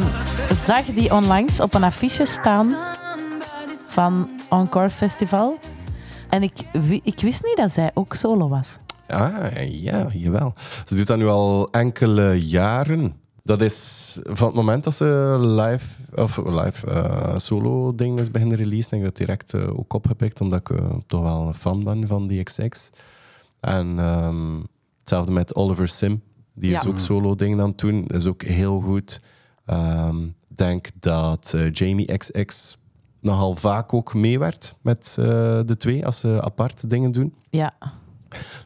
[SPEAKER 1] zag die onlangs op een affiche staan van Encore Festival. En ik, wi- ik wist niet dat zij ook solo was.
[SPEAKER 2] Ah, ja, jawel. Ze doet dat nu al enkele jaren. Dat is van het moment dat ze live, of live eh, solo ding is beginnen release, denk ik dat direct eh, ook opgepikt, omdat ik eh, toch wel een fan ben van die XX. En ehm, hetzelfde met Oliver Sim, die
[SPEAKER 1] Ja.
[SPEAKER 2] is ook solo ding aan het doen, is ook heel goed. Ehm, Ik denk dat eh, Jamie XX nogal vaak ook meewerkt met eh, de twee als ze apart dingen doen.
[SPEAKER 1] Ja.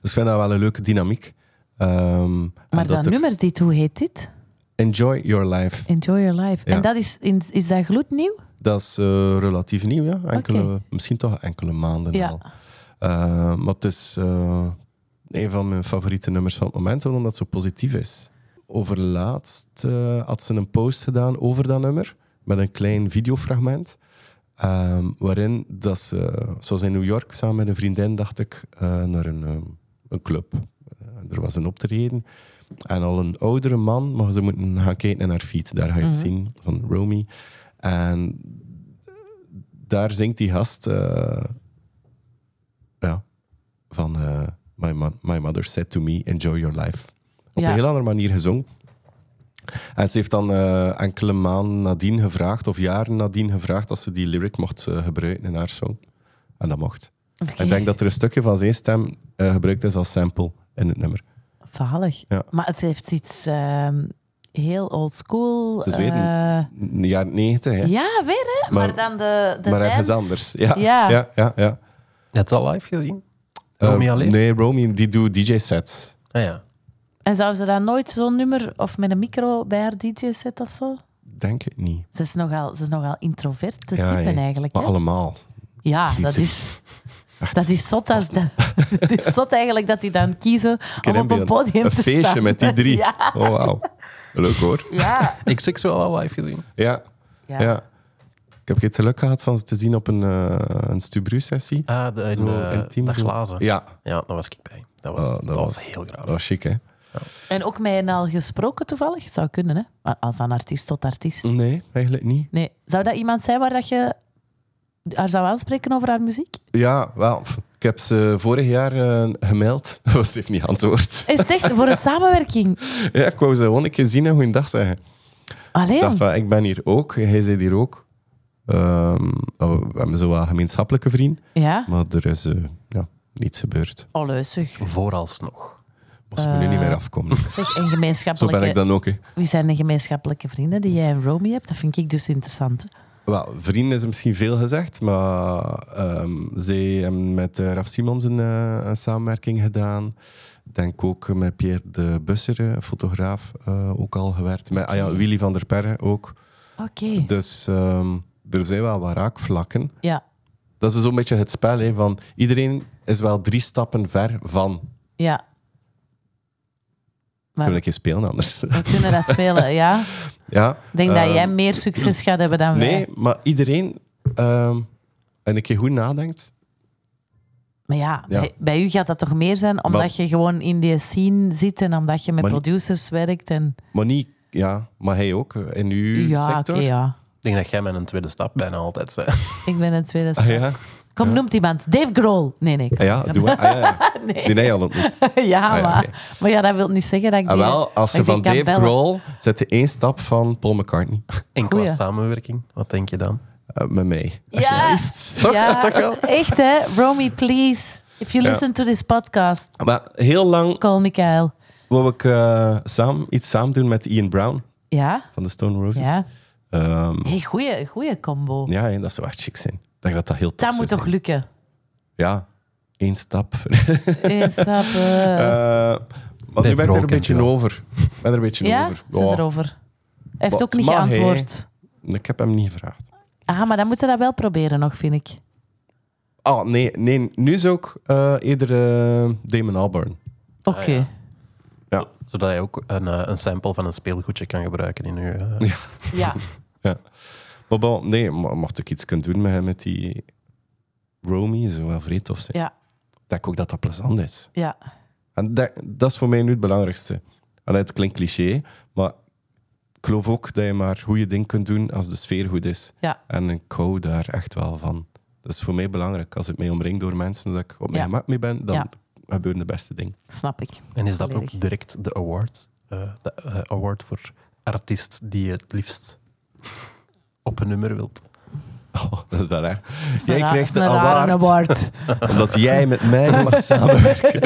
[SPEAKER 2] Dus ik vind dat wel een leuke dynamiek. Ehm, en
[SPEAKER 1] Maar dat,
[SPEAKER 2] er-
[SPEAKER 1] nummer dit, hoe heet dit?
[SPEAKER 2] Enjoy Your Life.
[SPEAKER 1] Enjoy Your Life.
[SPEAKER 2] Ja.
[SPEAKER 1] En dat is, in- is dat gloednieuw?
[SPEAKER 2] Dat is eh, relatief nieuw, ja. Enkele,
[SPEAKER 1] Oké.
[SPEAKER 2] Misschien toch enkele maanden
[SPEAKER 1] Ja.
[SPEAKER 2] al. Ehm, maar het is eh, een van mijn favoriete nummers van het moment, omdat het zo positief is. Overlaatst eh, had ze een post gedaan over dat nummer, met een klein videofragment. ehm, waarin dat ze, zoals in New York, samen met een vriendin, dacht ik, eh, naar een, ehm, een club. Eh, er was een optreden. En al een oudere man, maar ze moeten gaan kijken naar haar fiets. Daar ga je het zien, van Romy. En daar zingt die gast eh, ja, van eh, my, mo- my mother said to me, enjoy your life. Op
[SPEAKER 1] Ja.
[SPEAKER 2] een heel andere manier gezongen. En ze heeft dan eh, enkele maanden nadien gevraagd, of jaren nadien gevraagd, als ze die lyric mocht eh, gebruiken in haar song. En dat mocht.
[SPEAKER 1] Oké.
[SPEAKER 2] Ik denk dat er een stukje van zijn stem eh, gebruikt is als sample in het nummer.
[SPEAKER 1] Zalig.
[SPEAKER 2] Ja.
[SPEAKER 1] Maar het heeft iets ehm, heel old school.
[SPEAKER 2] Het is weer een-
[SPEAKER 1] eh,
[SPEAKER 2] N- Jaar 90, hè?
[SPEAKER 1] ja, weer hè? Maar,
[SPEAKER 2] Maar-
[SPEAKER 1] dan de, de
[SPEAKER 2] maar ergens
[SPEAKER 1] dance.
[SPEAKER 2] anders. Ja,
[SPEAKER 1] Ja.
[SPEAKER 2] ja, ja. ja,
[SPEAKER 3] Heb je het al live gezien? Romy
[SPEAKER 2] Eh,
[SPEAKER 3] alleen?
[SPEAKER 2] Nee, Romy die doet DJ-sets.
[SPEAKER 3] Ah ja.
[SPEAKER 1] En zou ze dan nooit zo'n nummer of met een micro bij haar DJ set of zo?
[SPEAKER 2] Denk ik niet.
[SPEAKER 1] Ze is nogal, ze is nogal introvert te
[SPEAKER 2] Ja,
[SPEAKER 1] typen
[SPEAKER 2] hè.
[SPEAKER 1] eigenlijk.
[SPEAKER 2] Maar
[SPEAKER 1] hè?
[SPEAKER 2] allemaal.
[SPEAKER 1] Ja, dat
[SPEAKER 2] Dieter.
[SPEAKER 1] is, dat is zot. Als dat, het is zot eigenlijk dat die dan kiezen om op een podium
[SPEAKER 2] een
[SPEAKER 1] te
[SPEAKER 2] feestje
[SPEAKER 1] staan.
[SPEAKER 2] met die drie.
[SPEAKER 1] Ja,
[SPEAKER 2] Oh, wauw. Leuk hoor.
[SPEAKER 1] ja.
[SPEAKER 3] Ik zeg zo al live gezien.
[SPEAKER 2] Ja.
[SPEAKER 1] ja.
[SPEAKER 2] ja. Ik heb het geluk gehad van ze te zien op een, eh een Stubru-sessie.
[SPEAKER 3] Ah, de, in
[SPEAKER 2] Zo
[SPEAKER 3] de,
[SPEAKER 2] intiem
[SPEAKER 3] de
[SPEAKER 2] zo.
[SPEAKER 3] glazen.
[SPEAKER 2] Ja.
[SPEAKER 3] Ja, daar was ik bij. Dat was,
[SPEAKER 2] Oh,
[SPEAKER 3] dat was heel graag.
[SPEAKER 2] Dat was chic, hè?
[SPEAKER 1] En ook met een al gesproken toevallig? Zou kunnen, hè? Maar Al van artiest tot artiest.
[SPEAKER 2] Nee, eigenlijk niet.
[SPEAKER 1] Nee. Zou dat iemand zijn waar dat je haar zou aanspreken over haar muziek?
[SPEAKER 2] Ja, wel. pff, Ik heb ze vorig jaar eh, gemaild. ze heeft niet antwoord.
[SPEAKER 1] Is het echt voor een samenwerking?
[SPEAKER 2] Ja, ik wou ze gewoon een keer zien en goeiedag zeggen.
[SPEAKER 1] Allee,
[SPEAKER 2] Ik dacht van, ik ben hier ook, jij zit hier ook. Ehm, oh, we hebben zo wel gemeenschappelijke vriend,
[SPEAKER 1] ja.
[SPEAKER 2] maar er is eh, ja, niets gebeurd.
[SPEAKER 1] Oh, leuzig.
[SPEAKER 3] Vooralsnog.
[SPEAKER 2] Moest me nu
[SPEAKER 3] Eh,
[SPEAKER 2] niet meer afkomen.
[SPEAKER 1] Zeg, en
[SPEAKER 2] Zo ben ik
[SPEAKER 1] gemeenschappelijke...
[SPEAKER 2] dan ook. Hè.
[SPEAKER 1] Wie zijn de gemeenschappelijke vrienden die jij en Romy hebt? Dat vind ik dus interessant. hè.
[SPEAKER 2] Wel, vrienden is misschien veel gezegd, maar ehm zij hebben met eh, Raf Simons een, eh, een samenwerking gedaan. Ik denk ook met Pierre de Busseren, een fotograaf, eh, ook al gewerkt. Met ah ja, Willy van der Perre ook.
[SPEAKER 1] Oké.
[SPEAKER 2] Dus ehm, er zijn wel wat raakvlakken.
[SPEAKER 1] Ja.
[SPEAKER 2] Dat is zo'n beetje het spel, hè, van iedereen is wel drie stappen ver van.
[SPEAKER 1] Ja. Maar
[SPEAKER 2] Kunnen ik je spelen anders?
[SPEAKER 1] we kunnen dat spelen, ja. Ik
[SPEAKER 2] ja.
[SPEAKER 1] denk dat
[SPEAKER 2] ehm,
[SPEAKER 1] jij meer succes gaat hebben dan wij.
[SPEAKER 2] Nee, maar iedereen ehm, en een keer goed nadenkt,
[SPEAKER 1] Maar ja,
[SPEAKER 2] Ja.
[SPEAKER 1] Bij, bij u gaat dat toch meer zijn omdat
[SPEAKER 2] Wel-
[SPEAKER 1] je gewoon in die scene zit en omdat je met
[SPEAKER 2] Maar niet-
[SPEAKER 1] producers werkt. En,
[SPEAKER 2] maar niet, ja, maar hij ook eh, in uw
[SPEAKER 1] ja,
[SPEAKER 2] sector.
[SPEAKER 1] oké, ja.
[SPEAKER 3] Ik denk dat jij met een tweede stap bijna altijd eh, bent.
[SPEAKER 1] Ik ben een tweede
[SPEAKER 2] Ah,
[SPEAKER 1] ster.
[SPEAKER 2] ja,
[SPEAKER 1] Kom, noemt iemand. Dave Grohl. Nee, nee.
[SPEAKER 2] ah, ja, doe maar. Ah, ja, ja.
[SPEAKER 1] nee.
[SPEAKER 2] Die hij al ontmoet.
[SPEAKER 1] ja,
[SPEAKER 2] Ah, ja,
[SPEAKER 1] maar,
[SPEAKER 2] oké.
[SPEAKER 1] maar ja, dat wil niet zeggen dat ik
[SPEAKER 2] Ah,
[SPEAKER 1] die-
[SPEAKER 2] wel, als
[SPEAKER 1] dat
[SPEAKER 2] ze
[SPEAKER 1] ik
[SPEAKER 2] van
[SPEAKER 1] die
[SPEAKER 2] Dave
[SPEAKER 1] kan bellen.
[SPEAKER 2] Grohl zet je één stap van Paul McCartney
[SPEAKER 3] En qua
[SPEAKER 1] Goeie.
[SPEAKER 3] samenwerking, wat denk je dan?
[SPEAKER 2] eh, met mij.
[SPEAKER 1] Ja, ja, echt hè. Romy, please. If you
[SPEAKER 2] Ja.
[SPEAKER 1] listen to this podcast,
[SPEAKER 2] Maar heel lang
[SPEAKER 1] call Michael.
[SPEAKER 2] wou ik eh, samen, iets samen doen met Ian Brown
[SPEAKER 1] Ja,
[SPEAKER 2] van de Stone Roses.
[SPEAKER 1] ja.
[SPEAKER 2] Ehm,
[SPEAKER 1] Hey, goeie, goeie combo.
[SPEAKER 2] ja, hè, dat zou echt chic zijn. Ik denk dat dat heel tof
[SPEAKER 1] dat
[SPEAKER 2] zou
[SPEAKER 1] moet
[SPEAKER 2] zijn.
[SPEAKER 1] toch lukken?
[SPEAKER 2] Ja, één stap.
[SPEAKER 1] Eén stap. eh.
[SPEAKER 2] Eh, maar nu ben ik
[SPEAKER 3] Grohl
[SPEAKER 2] er een
[SPEAKER 3] kent je
[SPEAKER 2] beetje
[SPEAKER 3] wel.
[SPEAKER 2] over. Ik ben er een beetje
[SPEAKER 1] ja,
[SPEAKER 2] over.
[SPEAKER 1] zit
[SPEAKER 2] Ja,
[SPEAKER 1] erover. Hij heeft
[SPEAKER 2] Wat
[SPEAKER 1] ook niet
[SPEAKER 2] mag, hè?
[SPEAKER 1] geantwoord.
[SPEAKER 2] Ik heb hem niet gevraagd.
[SPEAKER 1] Ah, maar dan moeten we dat wel proberen nog, vind ik.
[SPEAKER 2] Ah, nee, nee. Nu is ook eh eerder eh, Damon Albarn.
[SPEAKER 1] Oké.
[SPEAKER 3] Ah, ja.
[SPEAKER 2] Ja.
[SPEAKER 3] Zodat je ook een, eh, een sample van een speelgoedje kan gebruiken in je... eh,
[SPEAKER 1] Ja.
[SPEAKER 2] Maar bon, nee, ma- mocht ik iets kunnen doen met, met die Romy, zo wel vreed of zijn.
[SPEAKER 1] Ja.
[SPEAKER 2] Dat ik ook dat dat plezant is.
[SPEAKER 1] ja.
[SPEAKER 2] En dat, dat is voor mij nu het belangrijkste. Allee, het klinkt cliché, maar ik geloof ook dat je maar goede dingen kunt doen als de sfeer goed is.
[SPEAKER 1] Ja.
[SPEAKER 2] En ik hou daar echt wel van. Dat is voor mij belangrijk. Als het mij omringt door mensen dat ik op mijn
[SPEAKER 1] Ja.
[SPEAKER 2] gemak mee ben, dan
[SPEAKER 1] Ja.
[SPEAKER 2] gebeuren de beste dingen.
[SPEAKER 1] Snap ik.
[SPEAKER 3] En is dat
[SPEAKER 1] Volledig.
[SPEAKER 3] ook direct de award? Eh, de eh, award voor artiest die je het liefst op een nummer wilt.
[SPEAKER 2] Oh, dat is wel, hè.
[SPEAKER 1] Is
[SPEAKER 2] Jij
[SPEAKER 1] een ra-
[SPEAKER 2] krijgt
[SPEAKER 1] is
[SPEAKER 2] de
[SPEAKER 1] een rare
[SPEAKER 2] award.
[SPEAKER 1] award.
[SPEAKER 2] Omdat jij met mij mag samenwerken.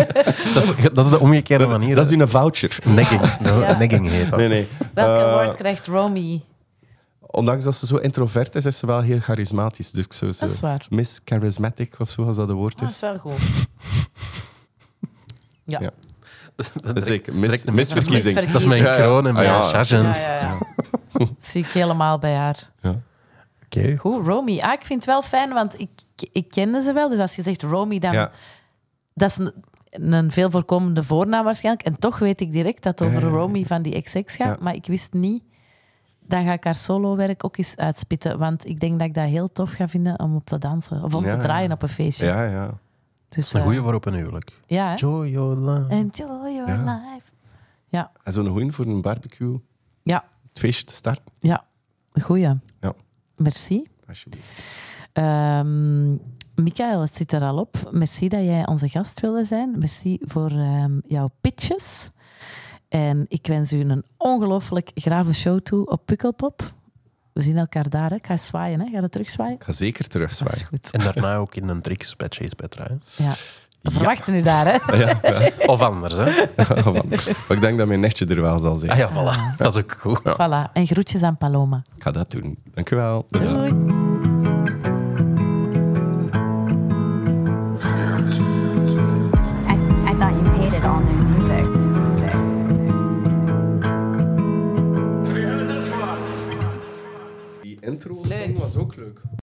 [SPEAKER 3] Dat is, dat is de omgekeerde manier.
[SPEAKER 2] Dat is een voucher.
[SPEAKER 3] negging. Dat is-
[SPEAKER 1] Ja.
[SPEAKER 3] negging heet dat.
[SPEAKER 2] Nee, nee.
[SPEAKER 1] Welke
[SPEAKER 2] Eh,
[SPEAKER 1] award krijgt Romy? Ah,
[SPEAKER 2] Ondanks dat ze zo introvert is, is ze wel heel charismatisch. Dus ik zou ze
[SPEAKER 1] Dat is waar.
[SPEAKER 2] Miss Charismatic of zo, als dat een woord
[SPEAKER 1] Dat is
[SPEAKER 2] is.
[SPEAKER 1] wel goed. Ja.
[SPEAKER 2] Ja.
[SPEAKER 1] Ja,
[SPEAKER 2] Dat is ik. Miss,
[SPEAKER 3] direct
[SPEAKER 2] misverkiezing.
[SPEAKER 3] een
[SPEAKER 1] misverkiezing.
[SPEAKER 3] Dat is mijn
[SPEAKER 2] Ja, ja.
[SPEAKER 3] kroon en mijn
[SPEAKER 2] Ah, ja.
[SPEAKER 3] charge.
[SPEAKER 1] ja, ja. Zie ik helemaal bij haar.
[SPEAKER 3] Oké.
[SPEAKER 1] Goed, Romy. Ah, ik vind het wel fijn, want ik, ik kende ze wel. Dus als je zegt Romy, dan...
[SPEAKER 2] Ja.
[SPEAKER 1] Dat is een, een veel voorkomende voornaam waarschijnlijk. En toch weet ik direct dat het over Romy van die XX gaat.
[SPEAKER 2] Ja.
[SPEAKER 1] Maar ik wist niet... Dan ga ik haar solo-werk ook eens uitspitten. Want ik denk dat ik dat heel tof ga vinden om op te dansen. Of om
[SPEAKER 2] Ja,
[SPEAKER 1] te
[SPEAKER 2] ja.
[SPEAKER 1] draaien op een feestje.
[SPEAKER 2] Ja, ja.
[SPEAKER 1] Dus,
[SPEAKER 3] Een
[SPEAKER 1] eh,
[SPEAKER 3] goeie voor op een huwelijk.
[SPEAKER 1] ja, hè.
[SPEAKER 3] Enjoy your life.
[SPEAKER 1] Enjoy your
[SPEAKER 2] Ja.
[SPEAKER 1] life.
[SPEAKER 2] En zo'n goeie voor een barbecue,
[SPEAKER 1] Ja,
[SPEAKER 2] het feestje te starten,
[SPEAKER 1] ja. Goeie.
[SPEAKER 2] Ja.
[SPEAKER 1] Merci.
[SPEAKER 2] alsjeblieft.
[SPEAKER 1] Ehm Michael, het zit er al op. Merci dat jij onze gast wilde zijn. Merci voor ehm, jouw pitches. En ik wens u een ongelooflijk grave show toe op Pukkelpop. We zien elkaar daar. Hè. Ik ga zwaaien. Hè. Ga je terug zwaaien?
[SPEAKER 2] Ik ga zeker
[SPEAKER 1] Dat is
[SPEAKER 2] terugzwaaien.
[SPEAKER 1] goed.
[SPEAKER 3] En daarna ook in een tricks bij Chase Petra. hè.
[SPEAKER 1] Ja. We verwachten u daar. Hè.
[SPEAKER 2] Ah, Ja, ja.
[SPEAKER 3] Of anders, hè?
[SPEAKER 2] Of anders. Maar ik denk dat mijn netje er wel zal zijn.
[SPEAKER 3] Ah ja, voilà. Dat is ook goed.
[SPEAKER 1] Voilà. En groetjes aan Paloma.
[SPEAKER 2] Ik ga dat doen. Dankjewel.
[SPEAKER 1] Doei.
[SPEAKER 6] I, I thought you hated all new music. music.
[SPEAKER 2] Die intro was ook leuk.